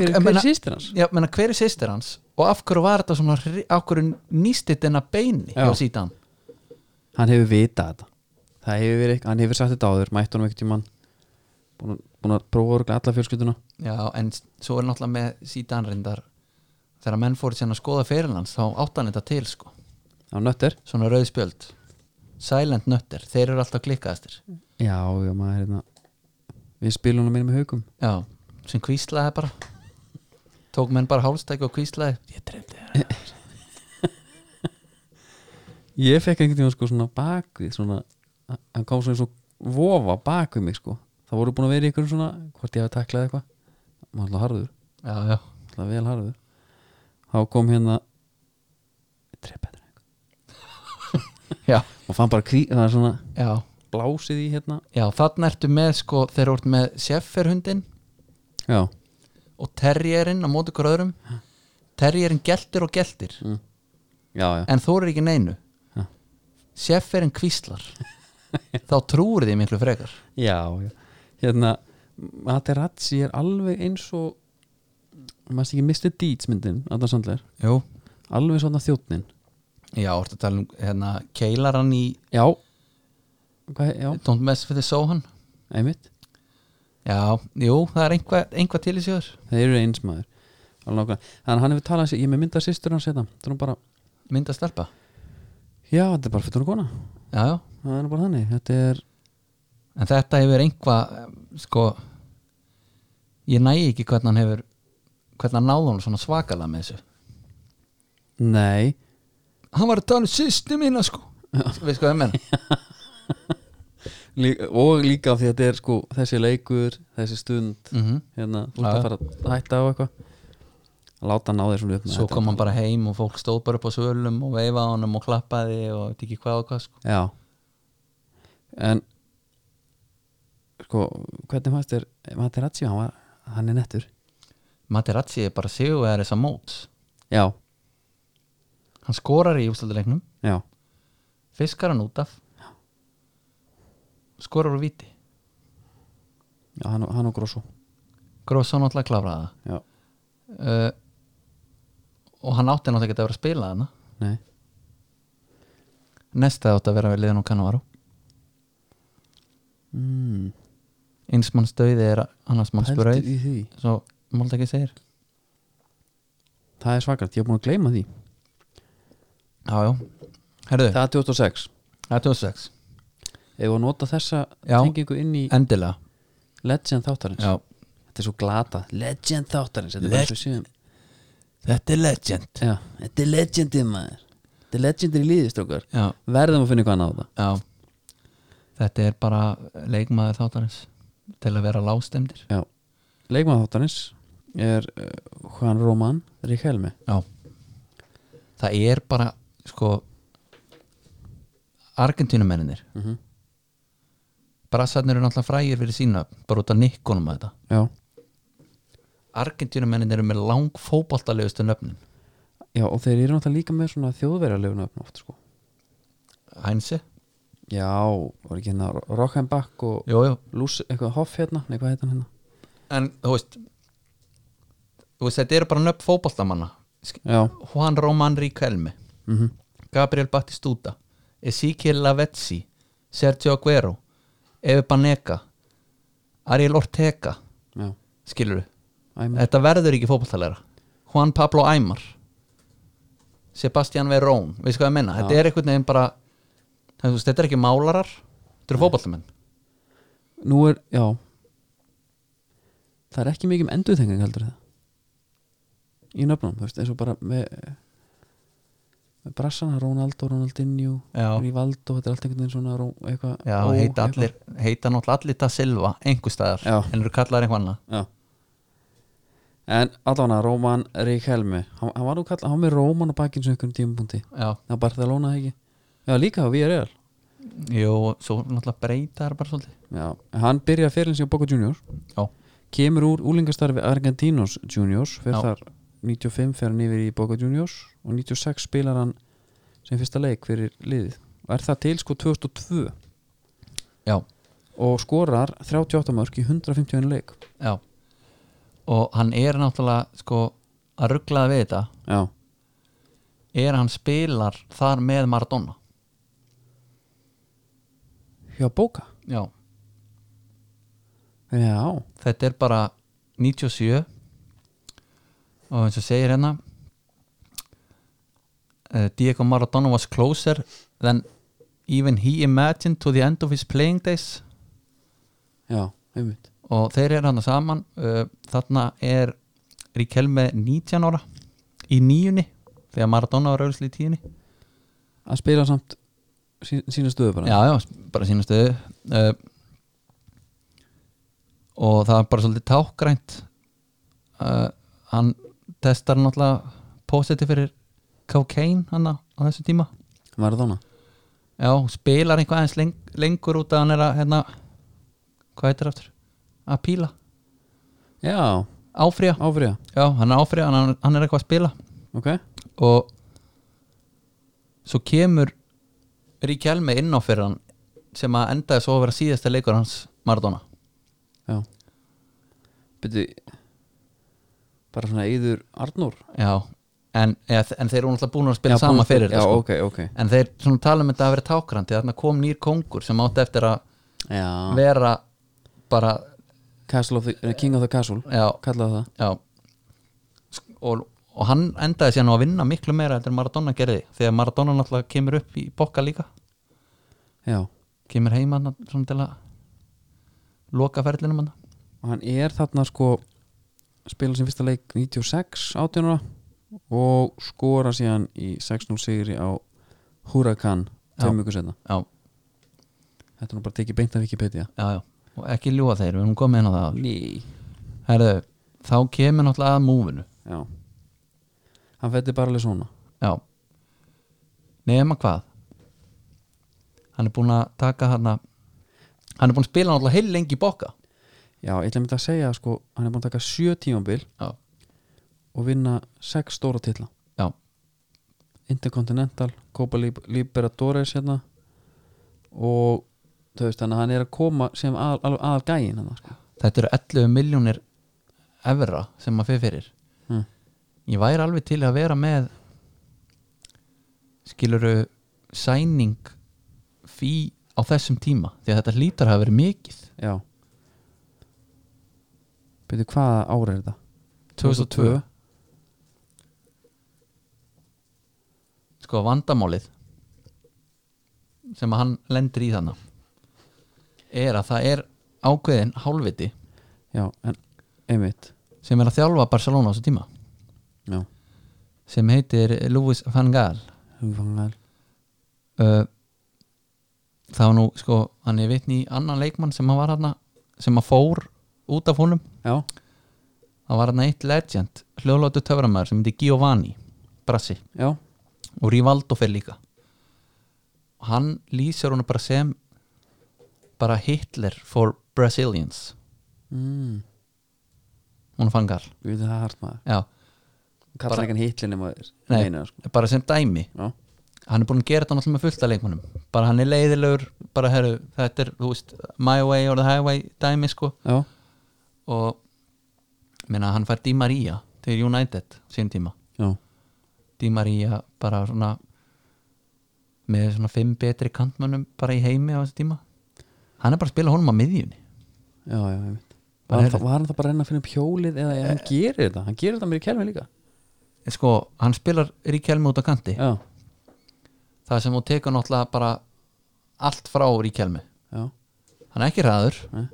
A: hver,
B: en
A: hver
B: meina-
A: er sýstir hans?
B: já menna, hver er sýstir hans og af hverju var þetta svona hri- af hverju nýstit þennan beini
A: Já.
B: á síðan
A: Hann hefur vitað þetta Það hefur verið, eitthvað- hann hefur sagt þetta áður mætt honum ekkert í mann búin, að- búin að prófa örugglega alla fjölskylduna
B: já, en s- svo er náttúrulega með síðan reyndar þegar menn fóru sérna að skoða fyrirlands þá átti hann þetta til sko
A: á nötter
B: svona rauðspjöld silent nötter, þeir eru alltaf klikkaðastir
A: Já, já, maður hérna Við spilum hann minni með haukum
B: já, sem kvíslaði bara tók menn bara hálstæki og kvíslaði ég drefti þér
A: Ég fekk einhvern tímann sko svona bakvið svona, hann kom svona eins og vofa bakvið mig sko Það voru búin að vera ykkur svona, hvort ég hafi taklað eitthvað Maður er alltaf harður
B: já, já,
A: Það vel harður Þá kom hérna Trepetra
B: já,
A: Og fann bara kví, það er svona
B: já
A: blásið í hérna
B: Já, þarna ertu með sko þeir eru með sefferhundin
A: Já,
B: og terrierinn á móti hver öðrum terrierinn geltir og geltir
A: já, já
B: en þú eru ekki neinu
A: Já.
B: sefferinn kvíslar þá trúir því miklu frekar
A: Já, já Hérna, Materazzi er alveg eins og maður sé ekki Mr. Deeds myndin Adam Sandler,
B: Jú.
A: alveg svona þjóttnin
B: Já, orðið að tala um hérna, keilaran í
A: Já Hvað, já,
B: Don't mess with the Sohan
A: einmitt
B: Já, jú, það er einhvað, einhvað til í sjöður
A: Þeir eru eins maður Alveg nákvæmlega. Þannig að hann hefur talað sér, ég er með mynda sýstur hans hérna Þannig bara,
B: mynd að stelpa
A: já, þetta er bara fyrir hún kona
B: já, já,
A: það er nú bara þannig þetta er,
B: en þetta hefur einhva sko ég næ ekki hvernig hann hefur hvernig hann náði hann svona svakalega með þessu
A: nei
B: hann var að tala um sýstu mína sko við sko það menna
A: líka, og líka af því að þetta er sko þessi leikur, þessi stund
B: mm
A: hérna, þú ert
B: Já.
A: að fara að hætta á eitthvað láta ná þér svona upp með
B: svo
A: þetta.
B: kom hann bara heim og fólk stóð bara upp á svölum og veifaði honum og klappaði og veit ekki hvað og hvað sko
A: Já En sko, hvernig fannst þér Materazzi, hann, var, hann er nettur
B: Materazzi er bara sigurvegar þessa móts
A: Já,
B: hann skorar í úrstölduleiknum
A: já,
B: fiskar hann út af skorar úr viti
A: já hann, og- hann og Grosso
B: Grosso náttúrulega kláraði
A: Já,
B: það uh, og hann átti náttúrulega ekki að vera að spila hana
A: nei,
B: Nesta átti að vera við liðan og kannavaru
A: mm,
B: Hmm, eins mann stauði er annars mann
A: pældu
B: sprauð
A: í því
B: svo mált ekki segir
A: Það er svakart, ég er búin að gleyma því
B: já, já, herðu,
A: Það er 2006
B: það er 2006
A: Ef að nota þessa
B: Já.
A: tengingu inn í
B: endilega
A: Legend þáttarins
B: já.
A: Þetta er svo glata, Legend þáttarins Þetta er bara
B: Leg-
A: svo síðan
B: þetta er legend
A: Já, þetta er legendið maður Þetta er legendið í liðistrókar
B: já,
A: Verðum að finna eitthvað annað á það
B: já þetta er bara leikmaður þáttarins til að vera lástemdir
A: Já, leikmaður þáttarins er uh, Juan Román Ríkhelmi
B: já, það er bara sko Argentínumennir
A: mm -hmm.
B: Brassarnir eru náttúrulega frægir fyrir sína bara út af nikkunum að þetta
A: Já,
B: Argentínumennir eru með lang fótboltalegustu nöfnin
A: já og þeir eru náttúrulega líka með svona þjóðverjarleguna oft sko
B: Hænsi,
A: Já, var ekki hérna Rockenbach og
B: jú, jú
A: Lús, eitthvað Hoff hérna, nei hvað heit hann hérna
B: en þú veist þú veist þetta eru bara nöfn fótboltamanna Sk-
A: Já,
B: Juan Román Riquelme
A: mm
B: Gabriel Batistuta Ezekiel Lavezzi Sergio Aguero Eve Banega Ariel Ortega
A: já,
B: skilur
A: æmur
B: þetta verður ekki fótboltalega Juan Pablo Aymar Sebastian Verón veist hvað ég menna, þetta
A: Já.
B: er einhvern veginn bara þú veist, þetta er ekki málarar þetta eru fótboltamenn
A: Nú er, já Það er ekki mikið um endurþengang heldur það Í nöfnum, þú veist, eins og bara með með brassana, Ronaldo, Ronaldinho
B: Já.
A: Rivaldo, þetta er allt einhvern veginn svona Ró- eitthvað
B: Já,
A: Ó,
B: heita,
A: eitthvað.
B: allir, heita náttúrulega allir það Silva einhver staðar,
A: Já.
B: en eru kallar einhvern annað
A: Já En allavega Róman Ríkhelmi hann, hann var nú kallað, hann var með Róman á bakinn sem einhverjum tímapunkti
B: Já,
A: Það var Barcelona ekki Já, líka á VRL
B: jú, og svo náttúrulega breyta er bara svolítið
A: Já, hann byrjaði fyrir sig á Boca Juniors
B: Já,
A: Kemur úr úlingastarfi Argentinos Juniors Fyrir
B: Já.
A: þar 95 fer hann yfir í Boca Juniors Og 96 spilar hann sem fyrsta leik fyrir liðið Og er það til sko 2002
B: já,
A: Og skorar 38 mörg í 151 leik
B: já Og hann er náttúrulega sko að rugglaða við þetta
A: Já,
B: er að hann spilar þar með Maradona
A: hjá Boca
B: Já,
A: Já,
B: þetta er bara 97 og eins og segir hérna eh, Diego Maradona was closer than even he imagined to the end of his playing days
A: já, einmitt
B: og þeir eru hann saman uh, þarna er Ríkjelme 19 ára í nýjunni þegar Maradona var auðvitað í tíunni
A: að spila samt sí, sína stöðu bara
B: já, já, bara sína stöðu uh, og það er bara svolítið tákgrænt uh, hann testar náttúrulega positive fyrir cocaine hann á á þessum tíma
A: Maradona
B: já, spilar einhvað aðeins leng lengur út að hann er að hérna, hvað heitir aftur að píla,
A: Já,
B: áfrýja
A: áfriða,
B: já, hann er að áfrýja, hann, hann er eitthvað að spila
A: ok
B: og svo kemur Ríkjelme inn á fyrir hann sem að endaði svo að vera síðasta leikur hans Maradona
A: Já Byrju Bara svona Eður Arnór
B: Já, en, eða, en þeir eru náttúrulega búin að spila sama fyrir
A: Já,
B: þetta sko.
A: ok, ok
B: En þeir svona tala um þetta að vera tákrandi þarna kom nýr kongur sem átti eftir að
A: Já,
B: vera bara,
A: Castle of the, eh, King of the Castle
B: já,
A: Kallaðu það
B: já Sk- og, og hann endaði síðan á að vinna miklu meira heldur en Maradona gerði þegar Maradona náttúrulega kemur upp í bokka líka
A: já,
B: kemur heima hann svona til að loka ferlinum hann
A: og hann er þarna sko spila sem fyrsta leik 96 átjónuna og skora síðan í 6-0 sigri á Huracan
B: Já.
A: tveim viku setna
B: já,
A: þetta er nú bara tekið beint af Wikipedia
B: já, já, og ekki ljúa þeir við erum komið inn á það áður.
A: Ný.
B: Herðu, þá kemur náttúrulega að múfinu
A: já hann fætti bara alveg svona
B: já nema hvað hann er búinn að taka hann hann er búinn að spila náttúrulega heil lengi í bokka
A: já, ég ætla að mynda að segja sko hann er búin að taka 7 tímabil
B: já,
A: og vinna 6 stóra titla
B: já,
A: Intercontinental, Copa Lib- Liberadores hérna og þú veist þannig að hann er að koma sem aðal, alveg aðal gæin hann sko.
B: þetta eru 11 miljónir evra sem maður fyrir fyrir
A: mm.
B: ég væri alveg til að vera með skiluru sæning fí á þessum tíma því að þetta hlýtar hafa verið mikið
A: já byrju hvaða ára er þetta?
B: 2002 sko vandamálið sem að hann lendir í þannig er að það er ákveðin hálfviti
A: já, en einmitt
B: sem er að þjálfa Barcelona á þessu tíma
A: já,
B: sem heitir Louis van Gaal
A: hugfangal
B: uh, það var nú sko hann er vitni í annan leikmann sem að var hann sem að fór út af honum
A: já,
B: það var hann eitt legend hljóðlótu töframæður sem heitir Giovanni Brassi
A: já,
B: og Rivaldo fyrir líka og hann lýsir hún bara sem bara Hitler for Brazilians
A: mm.
B: hún fangar
A: við veitum það er hart maður
B: já,
A: kallar ekki hann hitlinn um aður
B: Nei.
A: Neina, sko.
B: bara sem dæmi
A: já,
B: hann er búin að gera þetta náttúrulega með fullt af leikmannum bara hann er leiðilegur bara herru, þetta er, þú veist, my way or the highway dæmi sko
A: já,
B: og minna, hann fær Di Maria til United sín tíma
A: já,
B: Di Maria bara svona með svona fimm betri kantmönnum bara í heimi á þessu tíma hann er bara að spila honum á miðjunni
A: já, já einmitt Var
B: Bara
A: hann,
B: heyrðu.
A: það, var hann það bara að reyna að finna upp hjólið eða hann gerir þetta, hann gerir þetta mér í kelmi líka
B: sko, hann spilar Ríkjelmi út á kanti
A: já,
B: það sem hún tekur náttúrulega bara allt frá Ríkjelmi
A: já,
B: hann er ekki ræður,
A: nei,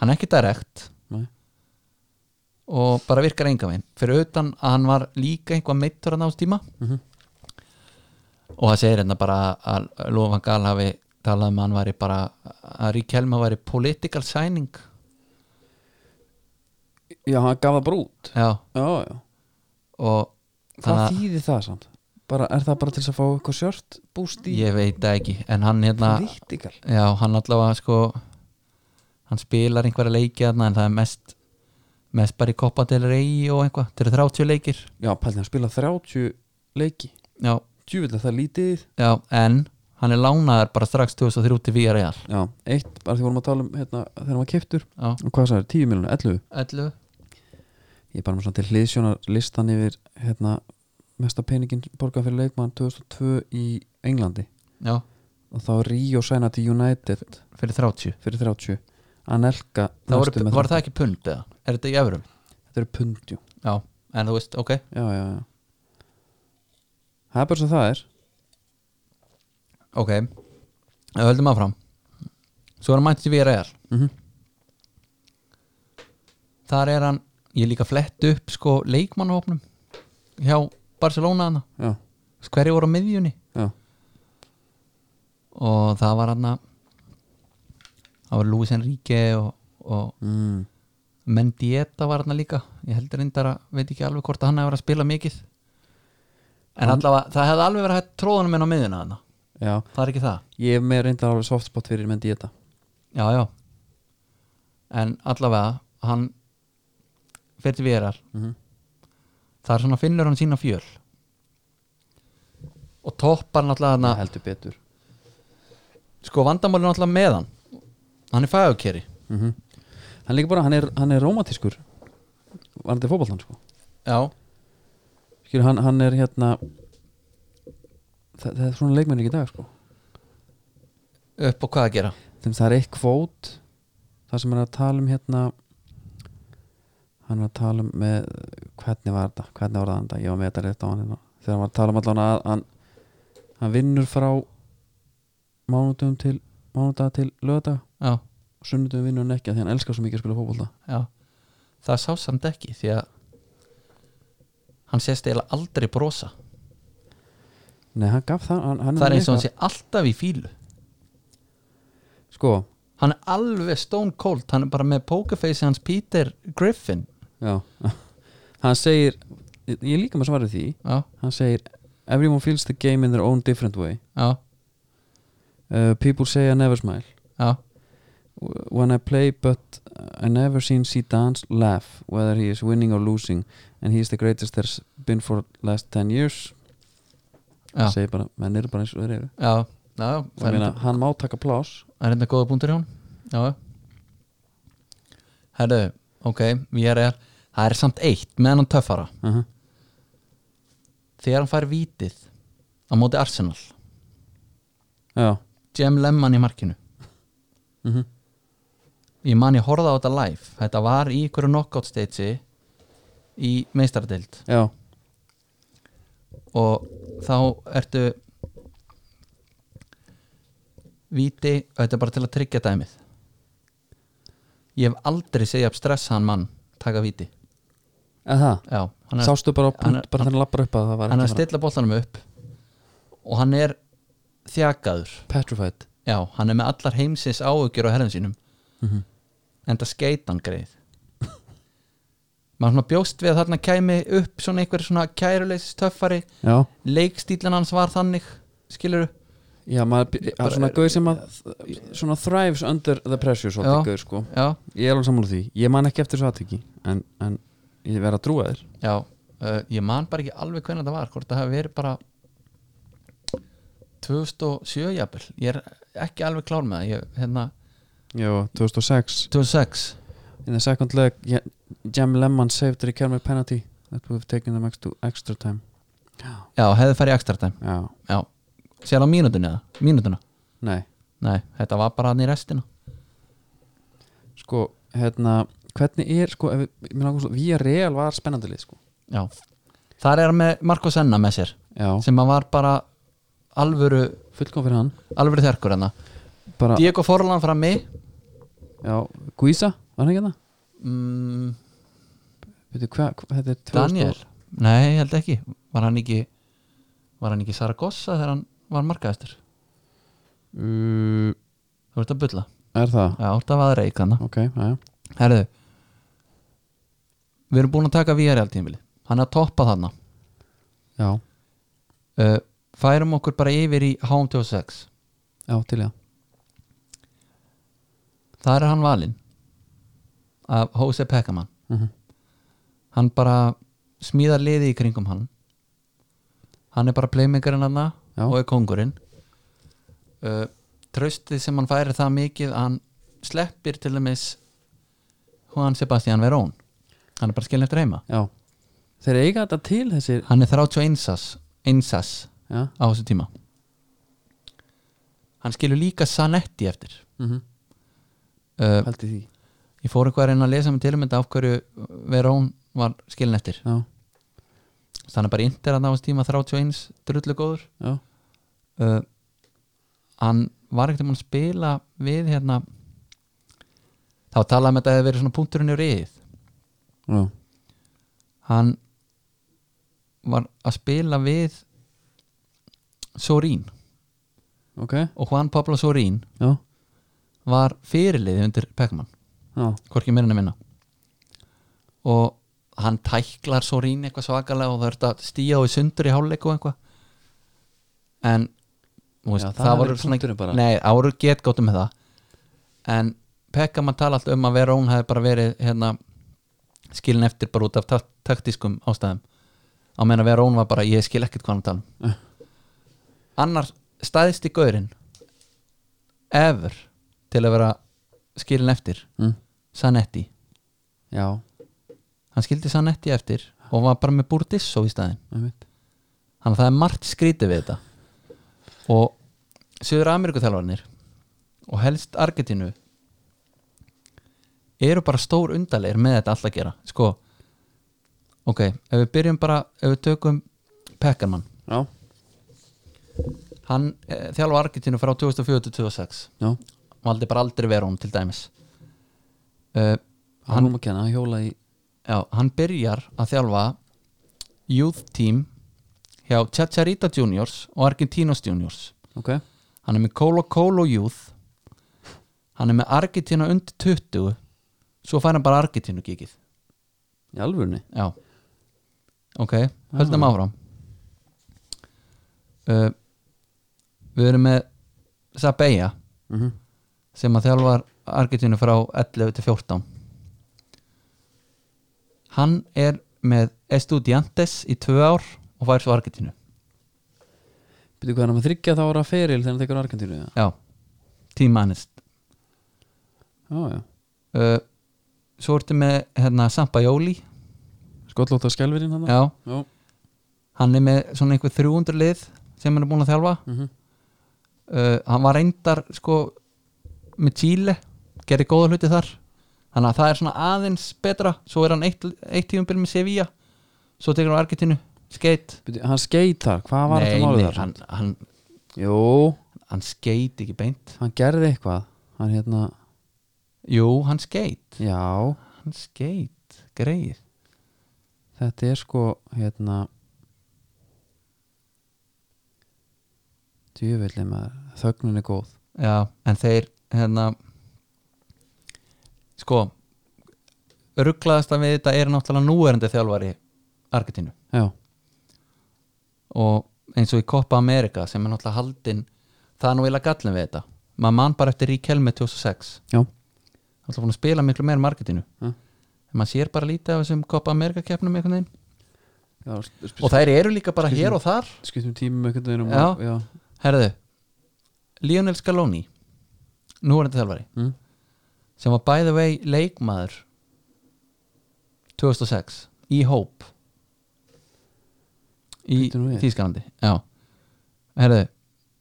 B: hann er ekki direkt
A: nei
B: og bara virkar enga veginn fyrir utan að hann var líka einhvað meittur að náðs tíma
A: Mhm.
B: og það segir hérna bara að Lofan Gal hafi talað um að hann væri bara að Rík Helma væri political signing
A: Já, hann gaf það bara út
B: já,
A: Já, já
B: og
A: Hvað
B: Þannig að-
A: þýðir það samt? Bara, er það bara til þess að fá eitthvað sjört búst í
B: ég veit það ekki en hann hérna,
A: politikal?
B: já hann allavega sko hann spilar einhverja leiki þarna en það er mest mest bara í Copa del Rey og einhvað þetta eru 30 leikir
A: Já, pældi, hann spila 30 leiki
B: já,
A: Djúvill að það er lítið
B: já, en hann er lánaður bara strax 2003 til VRL
A: Já, eitt, bara því vorum að tala um hérna, þegar hann var keftur
B: já,
A: Og hvað sagði, 10 miljonur, 11
B: 11
A: Ég er bara með svona til hliðsjónar listan yfir hérna, mesta peningin borgað fyrir leikmann 2002 í Englandi
B: já,
A: og þá er Rio sæna til United
B: fyrir 30
A: fyrir 30 Anelka
B: það
A: næstum
B: voru,
A: með
B: var
A: 30.
B: það ekki pund eða? er þetta í eurum?
A: Þetta eru pundjú
B: já, en þú veist, ok
A: Já, já, já Það er bara sem það er
B: ok, við höldum áfram svo er hann mættið við RR
A: Mhm.
B: þar er hann ég er líka flett upp sko leikmannhópnum hjá Barcelona hana
A: Já,
B: hverju voru á miðjunni
A: já,
B: og það var hann það var Luis Enrique og, og
A: mm.
B: Mendieta var hann líka ég heldur reyndar að, veit ekki alveg hvort að hann hefur verið að spila mikið en
A: Hann-
B: allavega, það hefði alveg verið að tróðanum inn á miðjuna hana,
A: já
B: það er ekki það
A: Ég er með reyndar alveg softspot fyrir menn dieta
B: já, já en allavega hann fyrir til verar
A: Mhm.
B: það er svona finnur hann sína fjöl og toppar náttúrulega
A: Það
B: hann
A: heldur betur
B: sko vandamálið náttúrulega með hann hann er fagurkeri
A: mm Hann líka bara, hann er, hann er rómatískur Varandi fótboltan sko
B: já,
A: Skilur, hann, hann er hérna það, það er svona leikmenn ekki í dag sko
B: upp á hvað að gera
A: Þeim það er eitt kvót Það sem hann er að tala um hérna Hann er að tala um með Hvernig var þetta, hvernig var þetta Ég var með þetta rétt á hann hérna Þegar hann var að tala um allan að hann, hann vinnur frá mánudum til mánudag til lögdag
B: já,
A: og sunnudum vinnur hann ekki að því hann elskar svo mikið að spila fótbolta
B: já það sá samt ekki því að hann sést eiginlega aldrei brosa
A: Nei, hann gaf það hann, hann
B: það er eins og
A: eitthvað-
B: hann sé alltaf í fílu
A: Sko,
B: hann er alveg stone cold hann er bara með pokerface hans Peter Griffin
A: já (laughs) Hann segir, ég ég er líka með svarið því
B: já,
A: Hann segir, everyone feels the game in their own different way
B: já,
A: uh, People say I never smile
B: já
A: when I play but I never seen Zidane laugh whether he is winning or losing and he is the greatest there's been for last 10 years
B: Já.
A: segir bara, menn eru bara eins og þeir eru
B: Já, já,
A: og
B: það
A: ég
B: er
A: meina,
B: enda-
A: hann má taka plás
B: það er enda góða punktur hjá hún Já, já Herðu, ok, VRR Það er samt eitt með hann töffara
A: uh -huh.
B: Þegar hann fær vítið á móti Arsenal
A: já,
B: Jem Lemman í markinu
A: mm
B: Ég man ég horfði á þetta live Þetta var í ykkur knockout stage í meistardeild
A: já
B: og þá ertu viti þetta er bara til að tryggja dæmið ég hef aldrei segja upp stressaðan mann taka viti
A: eða það,
B: já, hann er,
A: sástu bara á punkt,
B: hann er-
A: bara þannig lappar upp að það var
B: hann er að
A: ekki bara
B: stilla bollanum upp og hann er þjakaður
A: petrified
B: já, hann er með allar heimsins áökjur á herðum sínum
A: mm -hmm.
B: en það skeit hann greið maður svona bjóst við að þarna kæmi upp svona einhver svona kæruleysis töffari
A: já,
B: leikstílan hans var þannig skilur
A: já, maður by- hann er svona gauð sem að svona thrives under the pressure
B: Já.
A: svolítið gauð sko,
B: já,
A: ég er alveg sammála því ég man ekki eftir svo aðtiki en, en ég verð að trúa þér
B: Já, uh, ég man bara ekki alveg hvernig það var hvort það hafi verið bara 2007 jafnvel ég er ekki alveg klár með það ég, hérna,
A: já, 2006
B: 2006
A: In the second leg, yeah, Jam Lemmon saved the Kermit penalty that would have taken them extra, extra time.
B: Já, hefði farið í ekstra tæm
A: Já,
B: Já, sér á mínútunni eða mínútuna,
A: nei,
B: nei, þetta var bara hann í restina
A: sko, hérna, hvernig er, sko, ef við, mér langar svo, Vía Real var spennandi lið, sko.
B: Já, þar er hann með Marko Senna með sér
A: Já,
B: sem að var bara alvöru,
A: fullkom fyrir hann.
B: alvöru þerkur hann
A: Bara,
B: Diego Forlan frammi
A: já, Guisa, var hann ekki það?
B: mm,
A: Veitu, hvað, hva, þetta er 2000
B: Daniel, nei, ég held ekki var hann ekki var hann ekki Saragossa þegar hann var markaðastur
A: Uh,
B: þú ert að bulla,
A: er það?
B: já, þú ert að vaða reik hann
A: Ok, já, já.
B: herðu við erum búin að taka VR tímili hann er að toppa þarna
A: Já,
B: uh, færum okkur bara yfir í HM26
A: já, til ég.
B: þar er hann valinn af Jose Pekkamann
A: Mm -hmm.
B: hann bara smíðar liði í kringum hann hann er bara playmakerinn hann
A: Já.
B: og er kongurinn uh, traustið sem hann færi það mikið að hann sleppir til dæmis Juan Sebastian Verón hann er bara skilin eftir heima
A: Já. Þeir eiga þetta til þessir,
B: hann er 31 sas- einsas
A: já,
B: á þessu tíma hann skilur líka Sanetti eftir
A: mm -hmm.
B: uh,
A: held í því.
B: ég fór eitthvað að reyna að lesa með til um þetta af hverju Verón var skilin eftir
A: Já,
B: Þannig hann er bara índir að á þessu tíma 31 drullu góður
A: já,
B: uh, hann var ekkert um að spila við hérna þá talaði um þetta að það verið svona punkturinn í reyð
A: já,
B: hann var að spila við Sorín
A: ok,
B: og Juan Pablo Sorín
A: já,
B: var fyrirliði undir Pekman
A: já,
B: hvorki meirinn að minna og hann tæklar Sorín eitthvað svakalega og það er að stíja á í sundur í hálfleik og eitthvað en þú veist,
A: Já,
B: það,
A: það er
B: voru
A: ekki punkturinn bara.
B: svona nei, það voru getgóttum með það en Pekka maður tala alltaf um að vera hún hefði bara verið hérna, skilin eftir bara út af tak- taktískum ástæðum á meðan að vera hún var bara ég skil ekkert hvað hann tala um
A: Eh.
B: annar staðist í gaurinn ever til að vera skilin eftir
A: mm.
B: Sanetti
A: já,
B: hann skildi Sanetti eftir og var bara með Burdisso í staðinn
A: einmitt.
B: þannig að það er margt skrítið við þetta og Suður Ameríkuþjálfarnir og helst Argetínu eru bara stór undarleir með þetta alltaf að gera sko, ok, ef við byrjum bara ef við tökum Pekkarmann
A: Já,
B: hann eh, þjálfa Argentínu frá 2004-2006
A: Já,
B: valdi bara aldrei vera hún til dæmis uh,
A: hann um að kenna, hann hjóla í
B: já, hann byrjar að þjálfa youth team hjá Chacharita Juniors og Argentinos Juniors
A: Ok,
B: hann er með Colo Colo Youth hann er með Argentina undir 20 svo fær hann bara Argentinu gigið
A: í alvörni
B: já ok, höldum
A: Já.
B: áfram uh, við erum með Sabeya
A: mm
B: sem að þjálfar Argentínu frá 11 til 14 hann er með Estudiantes í tvö ár og fær svo Argentínu
A: Býtu hvað er hann með þryggja þá ára feril þegar hann tekur Argentínu eða?
B: já, tímanist
A: Já, já,
B: uh, svo ertu með hérna, Sampa Jóli
A: skollótt á skelverinn hann
B: já,
A: já.
B: hann er með svona einhver 300 lið sem hann er búin að þjálfa
A: mhm.
B: uh, hann var reyndar sko með Chile, gerði góða hluti þar þannig að það er svona aðeins betra svo er hann eitt, eitt tíumbil með Sevilla svo tekur hann Argentinu, skeitt
A: Býtu, hann skeit þar, hvað var þetta málið þar?
B: hann, hann,
A: Jú,
B: hann skeit ekki beint
A: hann gerði eitthvað Hann hérna,
B: jú, hann skeit
A: já
B: hann skeit, greið
A: Þetta er sko, hérna Djöfelli maður, þögnun er góð
B: já, en þeir hérna sko rugglaðast að við þetta er náttúrulega núverandi þjálfari Argentínu
A: Já,
B: og eins og í Copa America sem er náttúrulega haldin það er nú eiginlega gallin við þetta maður mann bara eftir Ríkelme 2006
A: já,
B: hann er búin að spila miklu meira marketinu
A: Ja.
B: en maður sér bara lítið af þessum Copa America keppnum einhvern veginn
A: já
B: og þær eru líka bara
A: Skilur.
B: hér og þar
A: Skiptum tímum einhvern veginn um
B: Já.
A: að- já.
B: herðu, Lionel Scaloni nú er þetta þjálfari
A: Mm.
B: sem var by the way leikmaður 2006 í hóp í
A: Bíddu nú við.
B: Þýskalandi já, herðu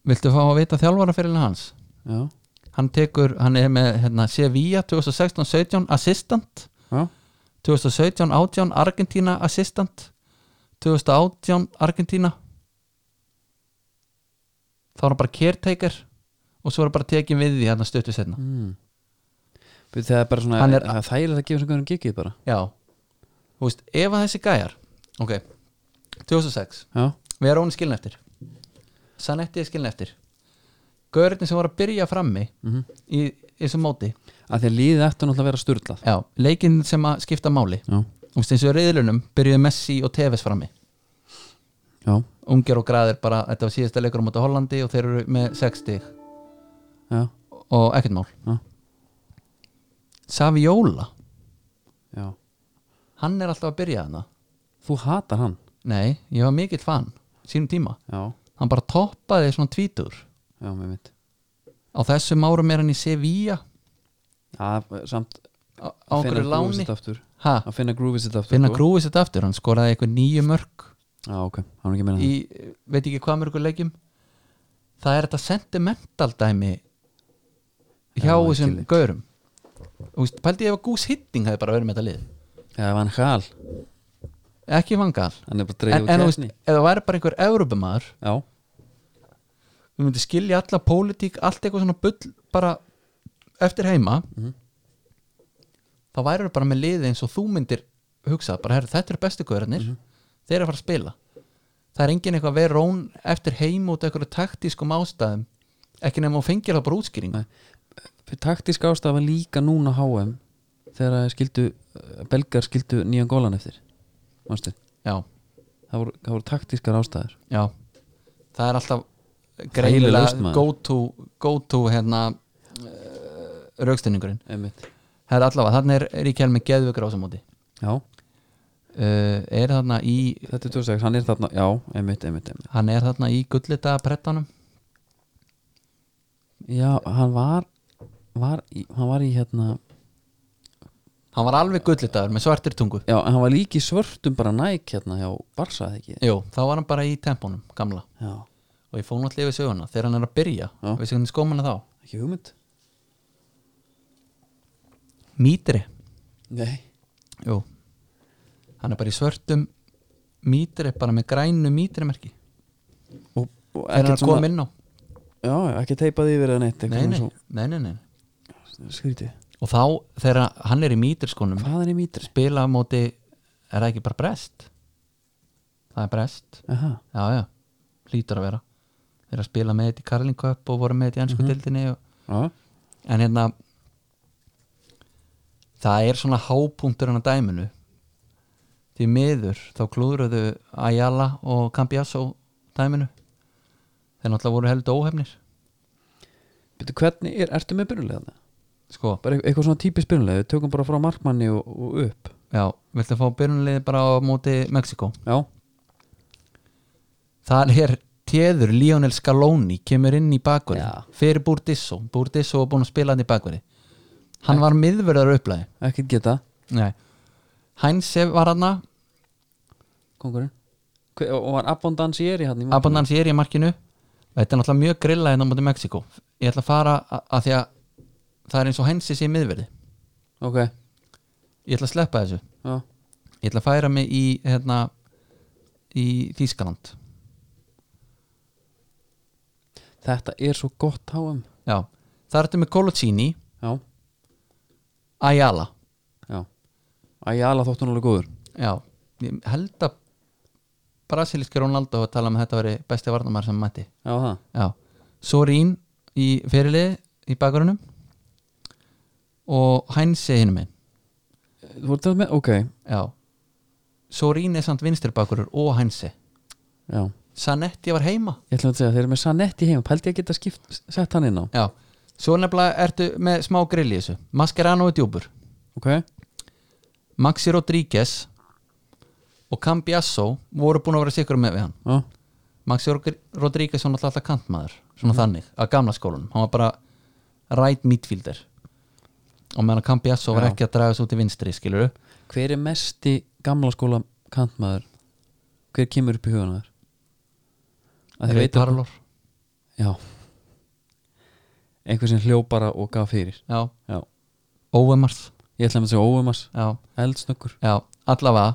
B: viltu fá að vita þjálfaraferilin hans
A: Já,
B: hann tekur, hann er með hérna, Sevilla 2016-17 assistant
A: já,
B: 2017-18 Argentina assistant 2018 Argentina þá er hann bara caretaker og svo er hann bara tekin við því hérna stöttu setna
A: mm. Býtu, Það er bara svona
B: Hann
A: Það
B: er-
A: er þægilegt að gefa sem hvernig gigið bara
B: já, þú veist, ef að þessi gæjar ok, 2006
A: Já,
B: við erum hún skilin eftir Sanetti er skilin eftir Gaurinn sem var að byrja frammi
A: Mhm.
B: í, í þessum móti
A: að því að liðið eftir náttúrulega að vera sturlað
B: já, leikinn sem að skipta máli
A: Já,
B: Þú veist eins og reyðlunum byrjuðu Messi og Tevez frammi
A: já,
B: Unger og graðir bara, þetta var síðasta leikur á móti Hollandi og þeir eru með 60
A: já,
B: og ekkert mál
A: já,
B: Saviola,
A: já.
B: hann er alltaf að byrja þarna
A: Þú hatar hann
B: Nei, ég var mikill fan, sínum tíma
A: Já,
B: Hann bara toppaði svona tvítur
A: já, með mitt
B: Á þessum árum er hann í Sevilla
A: Já, samt
B: á, á
A: að finna
B: einhverju
A: grúfið
B: láni
A: sitt aftur
B: ha,
A: Að finna grúfið sitt aftur
B: Finna
A: sko.
B: grúið sitt aftur, hann skoraði eitthvað nýju mörg
A: Já, ok, hann er ekki að meina
B: í, veit ekki hvað mörgur leikjum Það er þetta sentimental dæmi hjá
A: Já,
B: þessum
A: ekki líkt.
B: gaurum Þú veist, Pældi ég ef að Goose Hitting hefði bara verið með þetta lið
A: það Já, ef hann hal,
B: ekki vangal
A: hann er bara
B: en,
A: dreigð úr
B: en þú veist,
A: kefni
B: ef það væri bara einhver Evrópumæður,
A: Já,
B: við myndum skilja alla pólitík, allt eitthvað svona bull bara eftir heima
A: Mhm.
B: þá væri það bara með liði eins og þú myndir hugsa, bara herri, þetta eru bestu guðrarnir
A: Mhm.
B: þeir eru að fara að spila það er engin eitthvað verið rón eftir heim út af einhverju taktískum ástæðum ekki nefnum að fengja það bara útskýring
A: Nei. taktísk ástæða var líka núna á HM Þegar þeir skildu, eh, belgar skildu nýjan gólan eftir Manstu,
B: já,
A: það voru, það voru taktískar ástæður
B: já, það er alltaf
A: lausn,
B: greinilega
A: maður.
B: go to, go to hérna eh, uh, raukstönningurinn
A: Einmitt
B: Það er allavega, þannig er Ríkjálmi geðvökkur á þessum móti
A: Já,
B: uh, Er þarna í
A: þetta er 26, hann er þarna, já, einmitt, einmitt, einmitt
B: Hann er þarna í gullita prettanum
A: Já, hann var, var í, hann var í hérna
B: Hann var alveg gullitaður með svartir tungu
A: Já, en hann var líki svörtum bara næk hérna hjá Barsa, eða ekki?
B: Jú, þá var hann bara í tempónum, gamla
A: Já,
B: Og ég fór náttúrulega yfir söguna Þegar hann er að byrja,
A: Já.
B: veist hvernig skómana þá
A: ekki hugmynd?
B: Mítri,
A: Nei
B: jú Hann er bara í svörtum mítri, bara með grænu mítrimerki
A: Og og
B: þegar hann
A: ekkert
B: er
A: svona
B: komið inn á
A: já, ekki teipað yfir eða neitt
B: nei
A: eitthvað
B: nei,
A: svona
B: nei, nei, nei.
A: svo skrítið
B: og þá þegar hann er í mítirskónum
A: hvað er í mítri?
B: spila á móti er það ekki bara brest það er brest
A: Aha.
B: já já, lítur að vera þeir eru að spila með þetta í Karling Cup og voru með þetta í ennsku mm og
A: Já.
B: en hérna það er svona hápunktur hann að dæminu því miður þá klúðruðu Ayala og Cambiasso dæminu þeir náttúrulega voru heldur óhefnir
A: Býttu, hvernig er, ertu með byrjulega það?
B: sko,
A: bara eit- eitthvað svona típist byrjulega, við tökum bara frá markmanni og, og upp
B: já, viltu fá byrjunliði bara á móti Mexiko
A: já,
B: það er téður Lionel Scaloni kemur inn í bakverði
A: Já.
B: fyrir Burdisso, Burdisso var búin að spila hann í bakverði hann var miðverðar upplæði
A: ekkert geta
B: Nei. Heinze var hann
A: kongurinn Hver, og og var abondansieri hann í markinu?
B: abundans ég er í markinu þetta er náttúrulega mjög grilla en á móti Mexiko ég ætla að fara að, að því að það er eins og hensi sé í miðverði
A: ok,
B: ég ætla að sleppa þessu
A: já,
B: ég ætla að færa mig í hérna, í Þýskaland
A: þetta er svo gott háum
B: já, það er þetta með Coloccini
A: já,
B: Ayala
A: já Æjala þóttu nálega góður
B: já, ég held að brasilíski Ronaldo að tala um að þetta veri besti varnamar sem hann mætti
A: já, það,
B: já, Sorín í fyrirlið í bakarunum og Heinze hinum minn
A: þú voru þetta með, ok
B: Já Sorín er samt vinstri-bakurur og Hænsi
A: já,
B: Sanetti var heima
A: ég ætlum að segja, þeir eru með Sanetti heima pældi ég að geta skipt, sett hann inn á
B: Já, svo nefnilega ertu með smá grill í þessu Mascherano er djúpur
A: ok,
B: Maxi Rodríguez og Cambiasso voru búin að vera sikur með við hann
A: já,
B: Maxi Rog- Rodríguez var náttúrulega alltaf kantmaður
A: Mhm.
B: svona þannig, að gamla skólanum hann var bara right midfielder og meðan að Cambiasso var
A: Já.
B: ekki að draga þessu út í vinstri skilur
A: hver er mesti gamla skóla kantmaður hver kemur upp í hugan þar að þið
B: Ray
A: veitum
B: Parlor
A: Já Einhver sem hljó bara og gaf fyrir
B: Já,
A: Já
B: Óemars
A: Ég ætla að segja óumars
B: Já,
A: Eldsnökkur
B: Já, allavega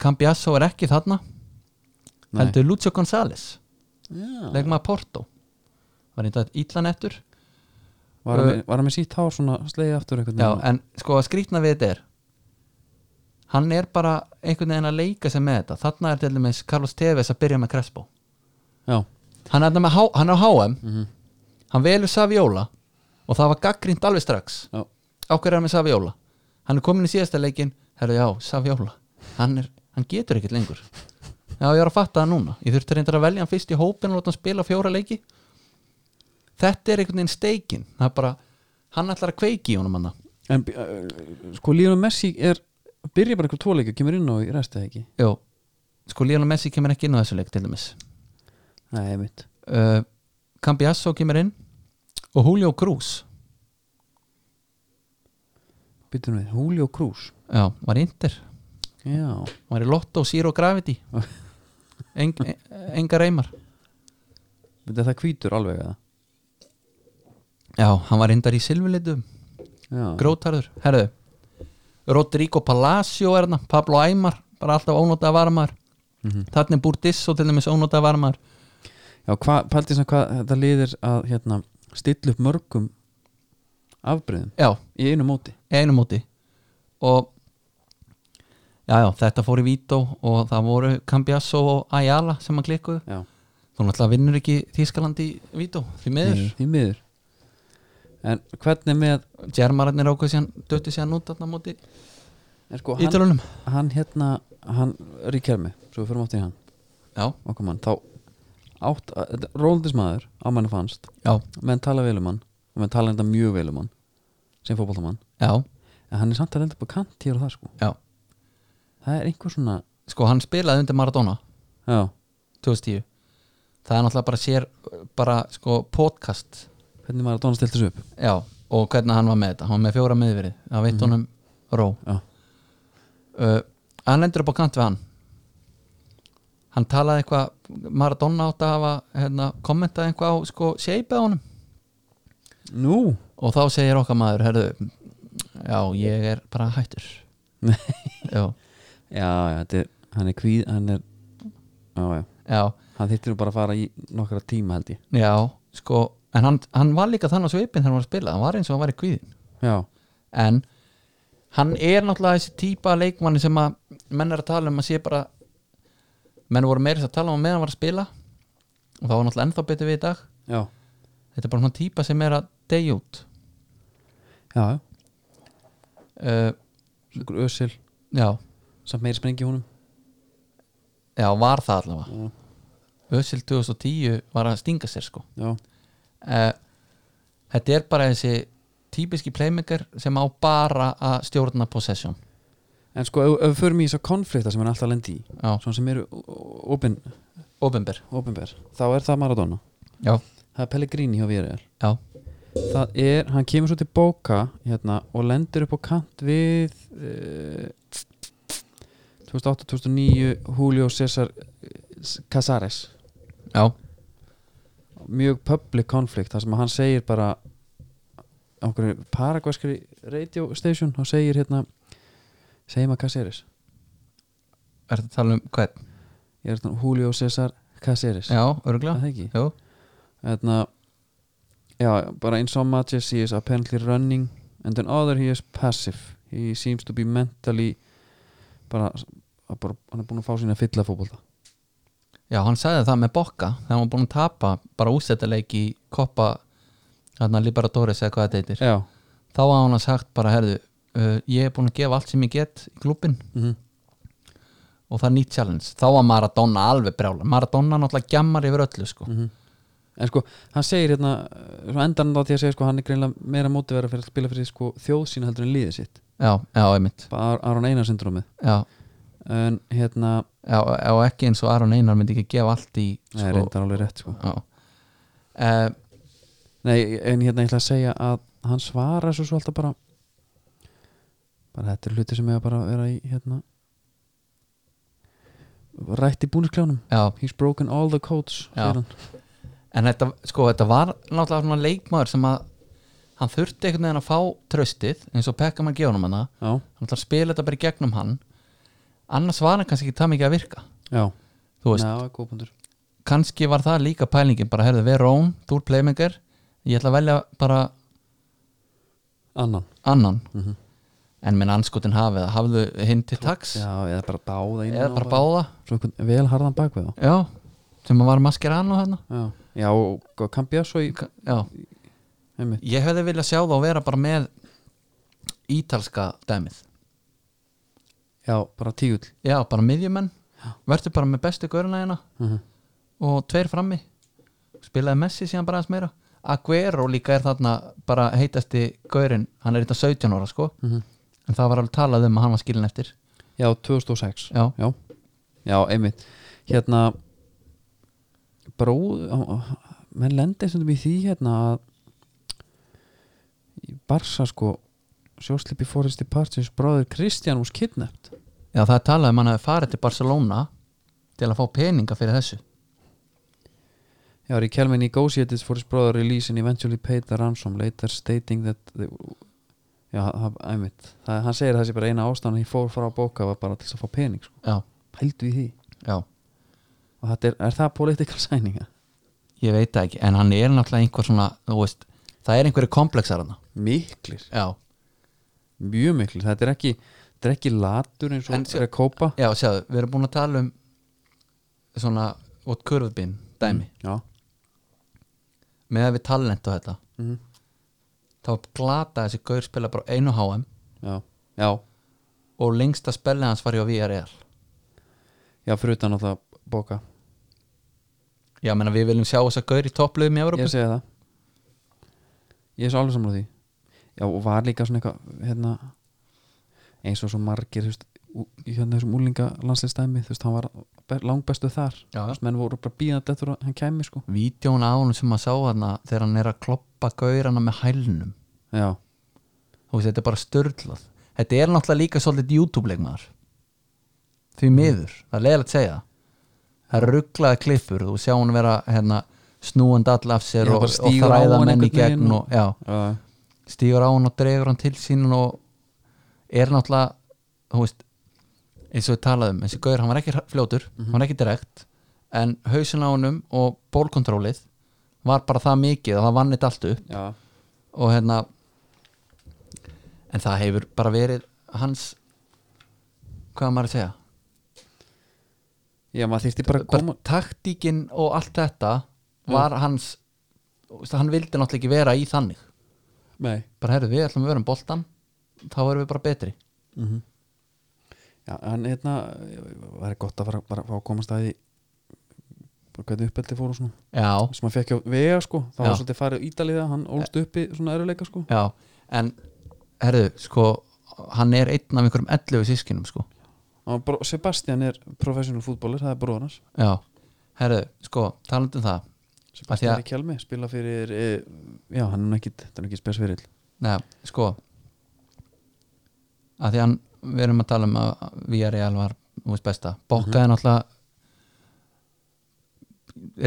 B: Cambiasso er ekki þarna
A: Nei.
B: heldur Lucio González
A: Já
B: legmaður Porto var einnig að ítlan eftir
A: Var hann með- var hann með sítt hár svona slegið aftur einhvern
B: Já,
A: veginn?
B: en sko að skrýtna við þetta er hann er bara einhvern veginn að leika sig með þetta þarna er til dæmis Carlos Tevez að byrja með Crespo
A: Já
B: hann er, þarna með, H- hann er á HM
A: Mhm.
B: hann velur Saviola og það var gaggrínt alveg strax
A: Já
B: á hverju er hann með Saviola hann er komin í síðasta leikin herru já, Saviola hann, er, hann getur ekkert lengur já, ég er að fatta það núna ég þurfti reyndar að velja hann fyrst í hópin og láta hann spila fjóra leiki þetta er einhvern veginn steikin það er bara, hann ætlar að kveiki í honum hann
A: En bí- uh, uh, sko Lionel Messi er Byrja bara einhver tvoleik og kemur inn á í restið ekki
B: Jó, sko Lionel Messi kemur ekki inn á þessu leik til dæmis
A: Nei, mitt
B: uh, Cambiasso kemur inn og Julio Cruz
A: Byttum við Julio Cruz
B: já, var í Inter,
A: Já
B: var í Lotto Zero Gravity Eng, enga reymar
A: Þetta það hvítur alveg eða
B: já, hann var reyndar í silfulitum
A: Já
B: grótarður, herðu Rodrigo Palacio er hann Pablo Aymar, bara alltaf ónótaða varmaður mm -hmm. þarna er Burdisso til dæmis ónótaða varmaður
A: Mhm. Já, hvað Paldið sem hvað Þetta liðir að hérna Stilla upp mörgum Afbreyðum
B: já,
A: Í einu móti
B: einu móti og já, já, þetta fór í Vító og það voru Cambiasso og Ayala sem að klikkuðu
A: Já
B: þú náttúrulega vinnur ekki Þískaland í Vító því miður,
A: Því miður En hvernig með
B: Germararnir ákveð síðan döttu síðan út þarna á móti
A: er sko, hann,
B: Ítalunum
A: hann hérna hann ríkjærmi, svo við fyrir átt í hann
B: já,
A: okkar mann, þá átt, rólendis maður á manni fannst
B: já,
A: menn tala vel um hann og menn tala enda mjög vel um hann sem fótboltamann,
B: já,
A: en hann er samt að lenda upp á kant hér og það sko,
B: já
A: það er einhver svona
B: sko hann spilaði undir Maradona
A: já,
B: 2010 það er náttúrulega bara sér bara sko podcast
A: hvernig maður að dóna stilt þessu upp
B: já, og hvernig hann var með þetta hann var með fjóra meðverið, það veit honum ró
A: já,
B: uh, hann endur upp á kant við hann hann talaði eitthvað Maradona átt að hafa hérna, kommentaði eitthvað á sko shape á honum
A: nú
B: og þá segir okkar maður herðu, já ég er bara hættur
A: Nei.
B: já,
A: já, já, þetta er, hann er kvíð hann er, já, já,
B: já,
A: hann þyrfti nú bara að fara í nokkra tíma held ég
B: já, sko en hann, hann var líka þannig á svipin þegar hann var að spila hann var eins og hann var í kvíðin
A: já,
B: en hann er náttúrulega þessi típa af leikmanni sem að menn er að tala um að sé bara menn voru meira þess að tala um að meðan hann var að spila og það var náttúrulega ennþá betur við í dag
A: já,
B: þetta er bara svona típa sem er að deyja út
A: já, já.
B: uh,
A: Skur ösil,
B: já,
A: samt meiri sprengi í honum
B: já, var það allavega
A: já,
B: Ösil 2010 var að stinga sér sko
A: já,
B: uh, þetta er bara þessi típiski playmaker sem á bara að stjórna possession
A: en sko ef, ef við förum í þess að konflikta sem hann alltaf lendi í
B: já,
A: svona sem eru open,
B: ofinber
A: openber þá er það Maradona
B: já,
A: það er Pellegrini hjá Vírel
B: já,
A: það er, hann kemur svo til bóka hérna, og lendir upp á kant við uh, 2008-2009 Julio César eh, Casares
B: já,
A: mjög public konflikt þar sem hann segir bara á okkur paragvæskri radio station og segir hérna segir maður Casares
B: er þetta að tala um hvern
A: ég er hérna Julio César Casares
B: já,
A: Er
B: örgulega
A: það ekki
B: Jú,
A: hérna já, bara in some matches he is apparently running and in other he is passive he seems to be mentally bara, að bara hann er búin að fá sína fylla fótbolta
B: já, hann sagði það með bokka þegar hann var búin að tapa bara úsættaleik í koppa hérna Liberatores eða hvað þetta heitir
A: já,
B: þá hafði hann sagt bara, herðu uh, ég er búin að gefa allt sem ég get í klubin
A: mm
B: og það er nýtt challenge þá var Maradona alveg brjála Maradona náttúrulega gjammar yfir öllu sko
A: mhm. en sko hann segir hérna eh, svo endar hann þá til að segja sko hann er greinlega meira móti verið fyrir að spila fyrir sko þjóð sína heldur en liðið sitt
B: já, já, einmitt
A: bara Ar- Aron Einar syndrómið
B: já,
A: en hérna,
B: já, já, ekki eins og Aron Einar myndi ekki gefa allt í
A: nei, reyndar alveg rétt sko
B: já. Uh,
A: Nei, en hérna ég ætla að segja að hann svarar svo svo alltaf bara bara þetta er hluti sem hefur bara að vera í hérna rætt í búniskljónum
B: já.
A: He's broken all the codes
B: Já.
A: segir hann.
B: en þetta, sko, þetta var náttúrulega svona leikmaður sem að hann þurfti einhvern veginn að fá tröstið eins og pekka maður gefa honum hana
A: já,
B: hann ætlar að spila þetta bara í gegnum hann annars var hann kannski ekki það mikið að virka
A: já,
B: þú veist,
A: Ná, er góð punktur.
B: kannski var það líka pælingin bara, herðu, við rón, þú er playmaker ég ætla að velja bara
A: annan
B: annan
A: Mhm.
B: en minn anskotin hafið, hafðu hinn til taks
A: já, eða bara báða inn
B: eða bara báða
A: svo einhvern vel harðan bakvið þá
B: já, sem að var Mascherano hérna
A: já, já og kampja svo í
B: Ka- já,
A: einmitt.
B: ég hefði viljað sjá þá að vera bara með ítalska dæmið
A: já, bara tígull
B: já, bara miðjumenn, verður bara með bestu göruna hérna
A: Mhm.
B: og tveir frammi spilaði Messi síðan bara aðeins meira Aguero líka er þarna bara heitasti gaurinn, hann er þetta 17 ára sko
A: Mhm.
B: en það var alveg talað um að hann var skilin eftir
A: já, 2006
B: já,
A: já, já, einmitt hérna bróð menn lendi sem í því hérna að í Barsa sko sjóslipi fóristi partsins bróður Kristján was kidnapped
B: já það er talað um að hann hafi farið til Barcelona til að fá peninga fyrir þessu
A: Já, Riquelme negotiated for his brother release and eventually paid the ransom later stating that the, Já, það, einmitt það, hann segir þessi bara eina ástæðan að ég fór frá bóka var bara til þess að fá pening sko.
B: já,
A: Pældu í því
B: já,
A: og þetta er, er það political sæninga?
B: ég veit það ekki en hann er náttúrulega einhver svona þú veist, það er einhverju komplexar hann
A: Miklir
B: já,
A: mjög miklu, þetta er ekki þetta er ekki latur eins og
B: En
A: þetta
B: sjá-
A: er að kópa
B: já, sjáðu, við erum búin að tala um svona út kurvbin dæmi,
A: já,
B: með að við talent og þetta
A: Mhm.
B: þá glata þessi gaur spila bara á einu HM
A: já, já,
B: og lengsta spellið hans var hjá VRL
A: já fyrir utan á það bóka,
B: já, menna við viljum sjá þess að gaur í topplöðum í Európa
A: ég segi það ég er svo alveg samlega því já og var líka svona eitthvað hérna, eins og svo margir þú veist, ú- í hérna þessum úlinga landsliðstæmi þú veist, hann var be- langbestu þar þú
B: já,
A: veist, menn voru bara bíðandi eftir að hann kæmi sko
B: vídjón á honum sem að sá þarna þegar hann er að kloppa gaurana með hælnum
A: já,
B: þú veist, þetta er bara störlað þetta er náttúrulega líka svolítið YouTube-leikmaður því
A: Mm.
B: miður, það er leiðilegt að segja það er rugglaða klippur þú sjá hann vera hérna, snúand all af sér
A: Já,
B: og,
A: bara
B: og
A: stígur á
B: þræða
A: hann
B: menn í
A: einhvern veginn
B: gegn
A: og-
B: og, já,
A: já,
B: stígur á hann og dregur hann til sín og er náttúrulega þú veist, eins og við talaðum þessi gaur, hann var ekki hra- fljótur, hann var ekki direkt en hausin á honum og bólkontrólið var bara það mikið að það vann þetta allt upp
A: Já,
B: og hérna en það hefur bara verið hans hvað á maður að segja
A: já maður þyrfti bara að
B: bara
A: koma
B: taktíkin og allt þetta var hans þú veist, hann vildi náttúrulega ekki vera í þannig
A: Nei
B: bara herrðu við ætlum að vera um boltan þá erum við bara betri Mhm.
A: Já, en hérna það er gott að fara, bara, fá að komast að því bara hvernig uppeldi fór og svona
B: já,
A: sem maður fekk á vega sko það var
B: Já. Eh.
A: svolítið farið ídaliða, hann ólst uppi svona eruleika sko
B: já en herðu sko hann er einn af einhverjum 11 sískinum sko
A: Og bro- Sebastian er professional fútbolur, það er bróður hans
B: já, herðu sko talandi um það
A: Sebastian
B: Af því að-
A: er í kjálmi, spila fyrir e, já, hann er nú ekkit, þetta er nú ekki spesfyrill
B: Nei, sko að því hann við erum að tala um að VRL var þú veist besta, bókaði náttúrulega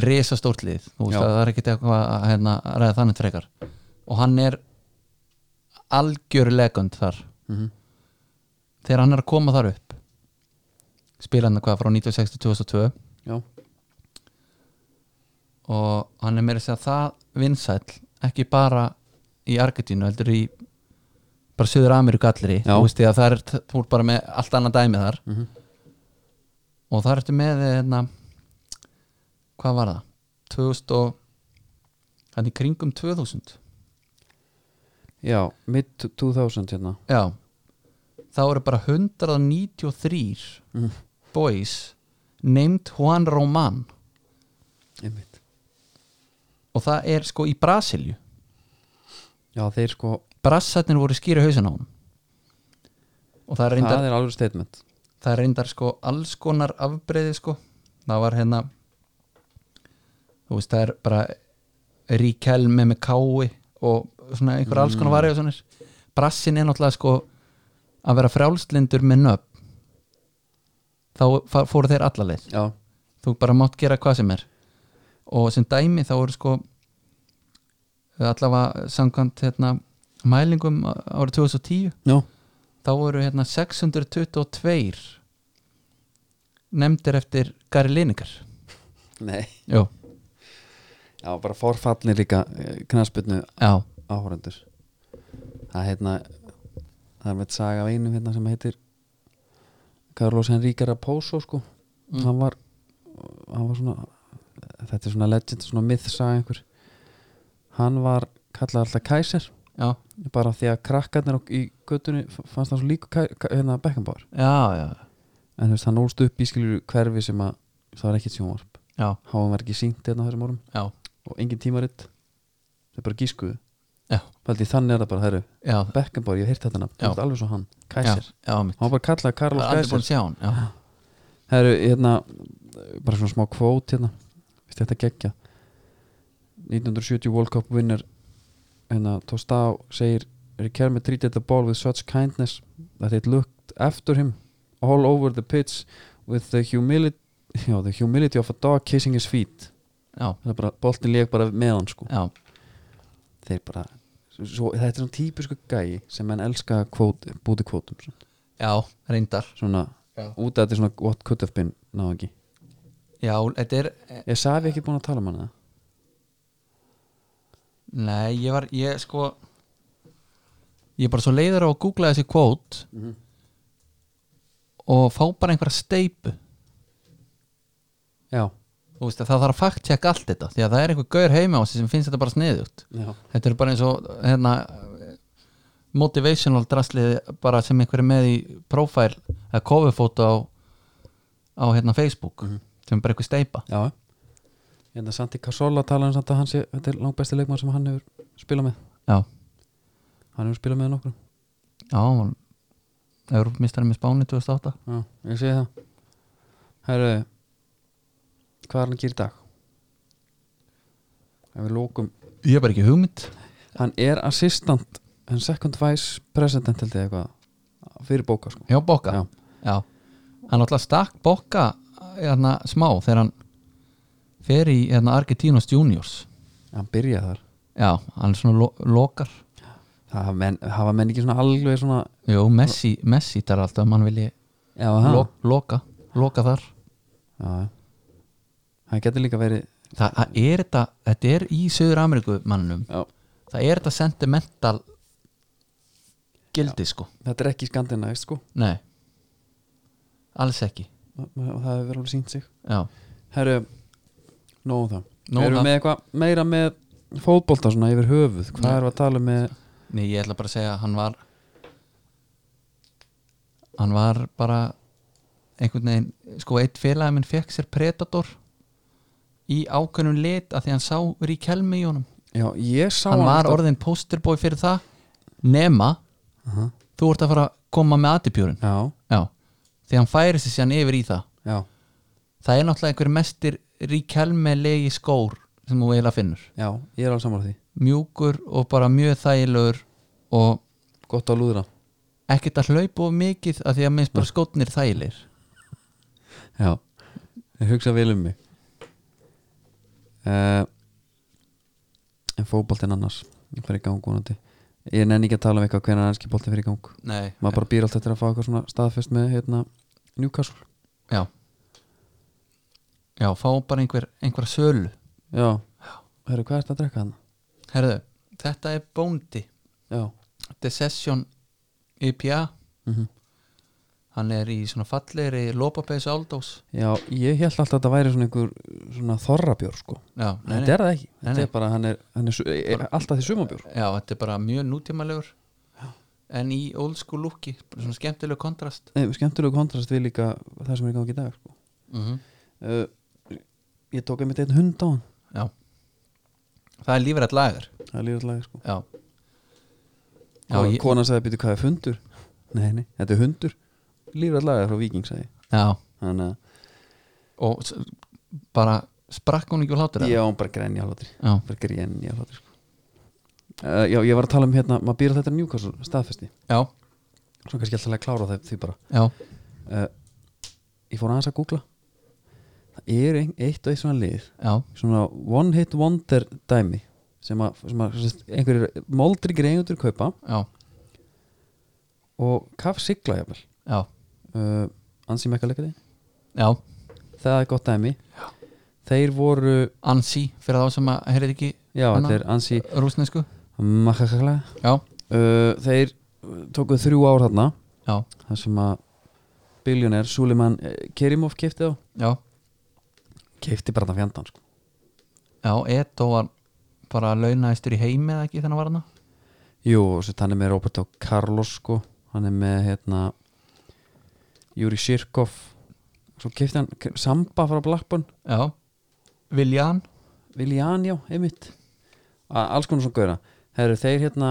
B: resa lið, þú veist
A: Já.
B: að það er ekkit eitthvað að hérna, að ræða þannig frekar og hann er algjör legund þar
A: mm -hmm.
B: þegar hann er að koma þar upp spila hann hvað frá 1960-2002
A: Já,
B: og hann er meira að segja það vinsæll ekki bara í Argentínu heldur í bara Suður Ameríku allri
A: Já.
B: þú veist því að það er þú er bara með allt annað dæmi þar
A: mm
B: og það ertu með hérna, hvað var það 2000 og hann í kringum 2000
A: já mid 2000 hérna
B: já þá eru bara 193
A: Mhm.
B: boys named Juan Román
A: Einmitt.
B: og það er sko í Brasilju
A: Já, þeir sko,
B: Brassarnir voru skýri hausin á hann og það er reyndar
A: það er alveg statement
B: það er reyndar sko alls konar afbreyði sko það var hérna þú veist það er bara Ríkelme með kái og svona einhver alls konar varja og svona brassin er náttúrulega sko að vera frjálslindur með nöfn þá fa- fóru þeir alla leið
A: Já,
B: þú bara mátt gera hvað sem er og sem dæmi þá eru sko allavega samkvæmt hérna, mælingum árið 2010
A: já,
B: þá voru hérna 622 nefndir eftir Gary Lineker
A: nei
B: Jú,
A: Já, bara forfallin líka eh, knarspilnu
B: já,
A: áhórandur það er hérna það er með saga af einum hérna sem heitir Carlos Henrique Raposo sko
B: Mm.
A: hann var hann var svona þetta er svona legend, svona mythsaga einhver hann var kallað alltaf kæsir
B: já,
A: bara því að krakkarnir á- í göttunni f- fannst hann svo líku kæ, kæ, hérna Beckenbauer
B: já, já,
A: en þú veist, hann ólst upp í skilur hverfi sem að það var ekkit sjónvarp
B: já,
A: hann var ekki sínt hérna á þessum árum
B: já,
A: og engin tímaritt þau bara gískuðu
B: Já.
A: Valdi, þannig er það bara, herru,
B: já,
A: Beckenbauer, ég hef heyrt þetta nafn,
B: Já.
A: þú ert alveg svo hann
B: já,
A: Kæsir,
B: já, mitt
A: hann var bara kallað
B: Það
A: Carlos
B: er aldrei búin
A: Kæsir
B: að sjá hann, já,
A: Herru, hérna, bara svona smá kvót hérna, veist þetta geggja 1970 World Cup winner hérna, Tostá segir Riquelme treated the ball with such kindness that it looked after him all over the pitch with the humility (laughs) já, the humility of a dog kissing his feet
B: já,
A: það er bara, boltin leik bara með hann sko
B: já,
A: þeir bara svo, þetta er svona típisku gæi sem menn elska að kvót, búti kvótum svona,
B: já, reyndar
A: svona
B: Já.
A: út af þetta er svona what could have been náðu ekki
B: Já, þetta er, eh,
A: ég sagði ekki búin að tala um hana
B: nei, ég var, ég sko Ég er bara svo leiður á að googla þessi kvót og fá bara einhverja steipu
A: já,
B: Þú veist að það þarf að fakt tjekka allt þetta því að það er einhver gaur heima á sig sem finnst þetta bara sniðugt
A: já,
B: þetta er bara eins og hérna, motivational draslið bara sem einhver er með í profile eða coverfóto á, á hérna, Facebook sem er bara einhver steipa
A: já hérna Santi Casola tala um samt að hann sé þetta er langt besti leikmann sem hann hefur spilað með
B: já,
A: hann hefur spilað með nokkur
B: já Európmistari með Spáni 2008
A: já, ég segi það herru hvað er hann að gera í dag ef við lókum
B: ég er bara ekki hugmynd
A: hann er assistant en second vice president held ég eitthvað fyrir bóka sko
B: já, Bokka
A: Já.
B: já. hann alltaf stakk Bokka hérna, smá þegar hann fer í hérna, Argentinos Juniors
A: hann byrjaði þar
B: já, hann er svona lo lokar
A: það hafa menn, hafa menn ekki svona alveg svona
B: jú, Messi, Messi þar alltaf, ef mann vilji
A: já,
B: lo loka, loka þar
A: já, það getur líka verið
B: það, það er þetta, þetta er í Suður Ameríku mannum,
A: já,
B: það er þetta sentimental gildi sko,
A: þetta er ekki skandinavist sko
B: nei alls ekki,
A: og og það hefur alveg sínt sig
B: já
A: Herru, nóðum það
B: Nóg
A: Erum
B: um
A: við
B: það.
A: með eitthvað meira með fótbolta svona yfir höfuð Hvað
B: Nei.
A: erum við að tala um með
B: Nei, ég ætla bara að segja að hann var hann var bara einhvern veginn, sko eitt félagi minn fekk sér Predator í ákveðnum lit að því hann sá Ríkjelmi í honum,
A: Já, ég sá
B: hann var
A: alltaf-
B: orðin posterboy fyrir það, nema
A: Aha.
B: þú ert að fara að koma með atipjúrin
A: Já,
B: já, því hann færi sér síðan yfir í það
A: já,
B: það er náttúrulega einhver mestir Ríkjelmi legi skór sem þú eiginlega finnur
A: já, ég er alveg saman á því
B: mjúkur og bara mjög þægilegur og
A: Gott að lúðra
B: ekkert að hlaupa of mikið af því að minnst bara skotnir þælir
A: Já, ég hugsa vel um mig uh, En fótboltinn annars Ég fer í gang vonandi Ég nenni ekki að tala um eitthvað hvernig ennski bolti fer í gang
B: Nei,
A: Maður bara býr alltaf til að fá eitthvað svona staðfest með hérna Newcastle
B: já Já, fá bara einhver, einhver sölu
A: Já, herru, hvað er þetta að drekka hann?
B: Herðu, þetta er bóndi
A: Já,
B: Þetta er Session IPA
A: mhm
B: Hann er í svona fallegri lópapeis áldós
A: Já, ég held alltaf að þetta væri svona einhver svona þorrabjór sko
B: Já, nei,
A: Þetta
B: nei.
A: er það ekki,
B: Nei,
A: þetta
B: nei.
A: er bara hann er, hann er, su- er alltaf því sumabjór
B: já, þetta er bara mjög nútímalegur En í old school looki Svona skemmtileg kontrast
A: Nei, Skemmtilegu kontrast við líka það sem er í gangi í dag sko
B: mm
A: uh, Ég tók einmitt einn hund á hann
B: Já Það er lífrætt lagar
A: Það er lífallega sko
B: Já Já,
A: Kona,
B: ég,
A: Konan sagði býtu hvað er fundur Nei, nei, þetta er hundur Lífallega frá Víking sagði ég.
B: já
A: Þannig að
B: og s- bara sprakk hún ekki úr hlátur eða?
A: ég á hann bara grenja hlátri
B: já,
A: Bara grenja hlátri sko uh, Já, ég var að tala um hérna, maður býr að þetta er Newcastle staðfesti
B: já,
A: Svo kannski alltaf að klára það því bara
B: já,
A: uh, ég fór aðeins að googla það er ein, eitt og eitt svona lið
B: já,
A: svona one hit wonder dæmi sem að, sem að sem sagt, einhverjir moldri greiðundur kaupa
B: já,
A: og kaff sigla jafnvel
B: já,
A: uh, ansi mekkaleikari,
B: já
A: það er gott dæmi þeir voru
B: ansi, fyrir þá sem að heyrið ekki
A: já,
B: Hana?
A: þetta er ansi
B: rúsnesku
A: makkakakla
B: já,
A: uh, þeir uh, tóku þrjú ár þarna
B: já,
A: þar sem að biljónir Suleiman eh, Kerimov keipti á
B: já,
A: keipti bara þann fjandann sko.
B: já Edo var bara launaðistur í heimi eða ekki þannig var hana
A: Jú, og svo hann er með Roberto Carlos sko, hann er með hérna Júri Sirkov svo kefti hann K- Samba frá Blackburn
B: já, Viljan
A: Viljan, já, einmitt A alls konar svona gauðra þeir, þeir hérna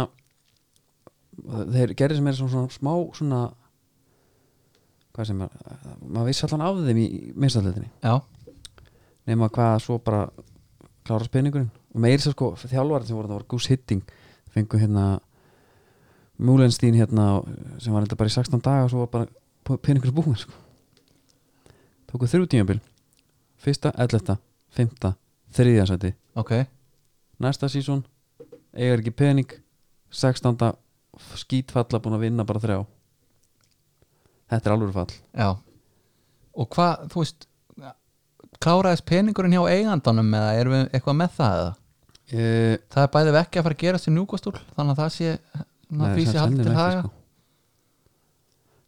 A: þeir gerði sem er svona, svona smá svona hvað sem er maður vissi allan af þeim í minnstallöðinni
B: já,
A: nema hvað svo bara klára spenningurinn og meiri sér sko þjálfarið sem voru það var Goose Hitting fengu hérna Múlenstein hérna sem var enda bara í 16 daga og svo var bara penningur búin sko. tóku þrjú tímabil fyrsta, ellefta, fymta þriðja sæti,
B: ok
A: næsta sísón eiga ekki penning 16. skítfalla búin að vinna bara þrjá þetta er alveg fall
B: já, og hvað, þú veist kláraðist peningurinn hjá eigandanum eða erum við eitthvað með það eða
A: e,
B: það er bæðið ekki að fara að gerast í njúkastúl þannig að það sé þannig að því sé haldið til haga
A: sko.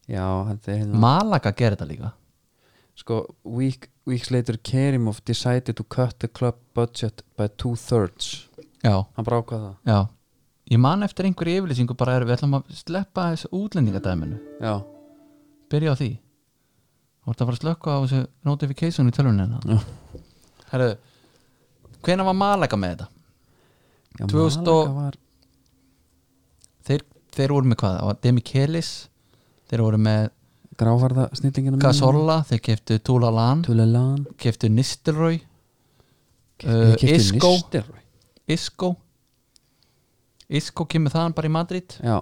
A: já, þetta er hérna
B: Malaga gerir þetta líka
A: sko, week, weeks later Kerimov decided to cut the club budget by two thirds
B: já,
A: hann bara ákvað það
B: já ég man eftir einhverju yfirlýsingu bara er við ætlum að sleppa þessu útlendingadæminu
A: já,
B: byrja á því þú ert að fara að slökka á þessu notification í tölvunina
A: Já.
B: herru hvenær var Malaga með þetta?
A: já
B: 2000 og-
A: Malaga var,
B: þeir, þeir voru með hvað? Það var Demichelis þeir voru með
A: gráfarða snillingina
B: Casorla þeir keftu Tulalan
A: Tulelan
B: keftu Nistelrooy
A: Eh,
B: Uh, Isco. Isco Isco kemur þaðan bara í Madrid
A: já,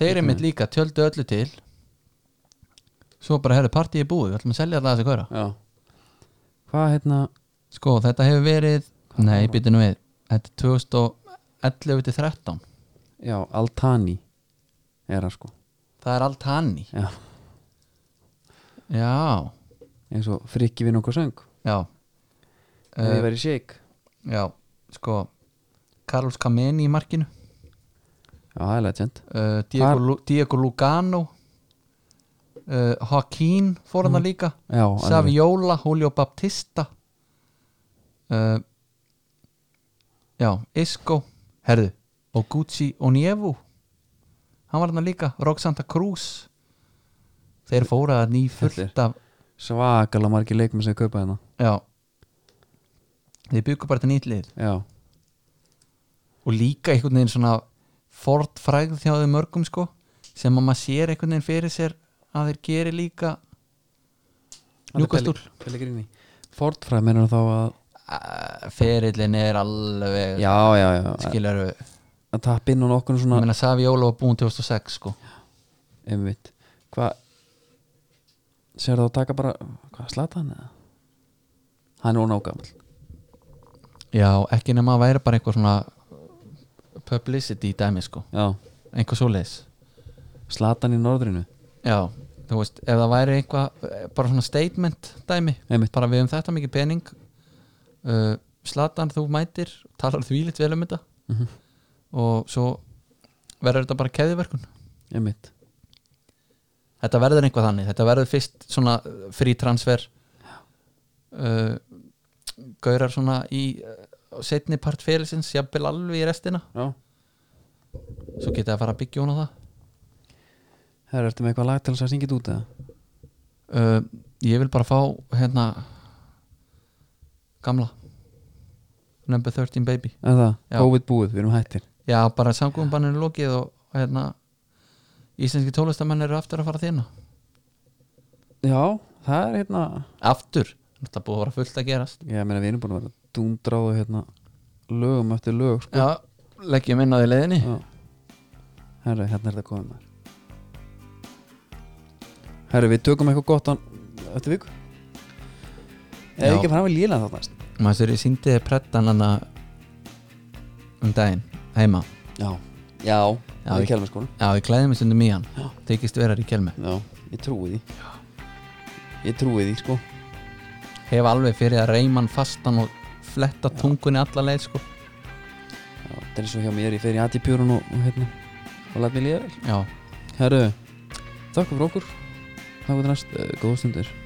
B: þeir eru mitt líka tjöldu öllu til svo bara herðu partíi er búið við ætlum að selja alltaf þessi kvöra
A: já hvað hérna
B: sko þetta hefur verið, nei býtum við þetta er 2011 til 13
A: já, Altani er það sko
B: það er allt hann í
A: já,
B: já,
A: eins og frikki við nokkuð söng
B: já
A: Ef ég
B: uh,
A: væri shake
B: já, sko Carlos Kameni í markinu
A: Já, það er legend
B: uh, Diego, Lu, Diego Lugano uh, Joaquín fór hann líka
A: Já, alveg.
B: Saviola, Julio Baptista uh, Já, Isco Herðu, og Gucci og Nievu Hann var hann líka Rock Santa Cruz Þeir fóra að ný fullt
A: Þetta
B: af
A: svakalega margir leikmenn sem kaupa hérna
B: Já Þeir byggu bara þetta nýtlið
A: Já,
B: og líka einhvern veginn svona ford frægð hjá þeim mörgum sko sem að maður sér einhvern veginn fyrir sér að þeir geri líka Newcastle.
A: Pellegrini Fordfræð mennur þá að
B: Æ, ferillin er alveg
A: Já, já, já
B: skilur við,
A: Að tappa inn á nokkur
B: ég
A: svona
B: meina Saviola var búin 2006 sko
A: Einmitt Hvað Sér það að taka bara Hvað slata hann eða? Hann er ónágamall
B: já, ekki nema að væri bara einhver svona publicity dæmi sko
A: Já
B: einhver svoleiðis
A: Slatan í norðrinu
B: já, þú veist, ef það væri einhvað bara svona statement dæmi
A: Einmitt
B: bara við höfum þetta mikið pening uh, Slatan þú mætir talar því lít vel um þetta
A: Mhm.
B: og svo verður þetta bara keðiverkun
A: Einmitt
B: þetta verður einhvað þannig, þetta verður fyrst svona frí transfer uh, gaurar svona í uh, setni part félisins, jafnvel alveg í restina
A: Já
B: svo geta það að fara að byggja hún á það
A: Herra, ertu með eitthvað lag til þess að syngja þetta út eða?
B: uh, ég vil bara fá hérna gamla number 13 baby
A: En það,
B: Já.
A: COVID búið, við erum hættir
B: Já, bara samgóðumbanninu lokið og og hérna Íslenski tólestamenn eru aftur að fara þérna
A: Já, það er hérna
B: Aftur? Þetta búið að vera fullt að gerast
A: Ég meina, við erum búin að vera dúndráðu hérna Lögum eftir lög, sko
B: Já, leggjum inn á því leiðinni
A: Já. Herra, hérna er þetta komið maður Herra, við tökum eitthvað gott án Þetta viku Eða
B: Já.
A: ekki að fara með líla þá næst
B: Maður sér ég síndi prettan hana um daginn, heima
A: Já, já,
B: Já,
A: við
B: ég-
A: kelfum skóla
B: Já, ég klæði mig stundum í hann
A: Já.
B: Tekist verar í kelmi
A: Já, ég trúi því já. Ég trúi því, sko
B: Hef alveg fyrir að reyma hann fastan og fletta tungunni alla leið sko
A: já, Það er svo hjá mér, ég fer í aðtipjörun og, og hérna Og læt mér líða vel
B: Já,
A: Herru, þakka fyrir okkur Þakka fyrir næst, uh, góða stundir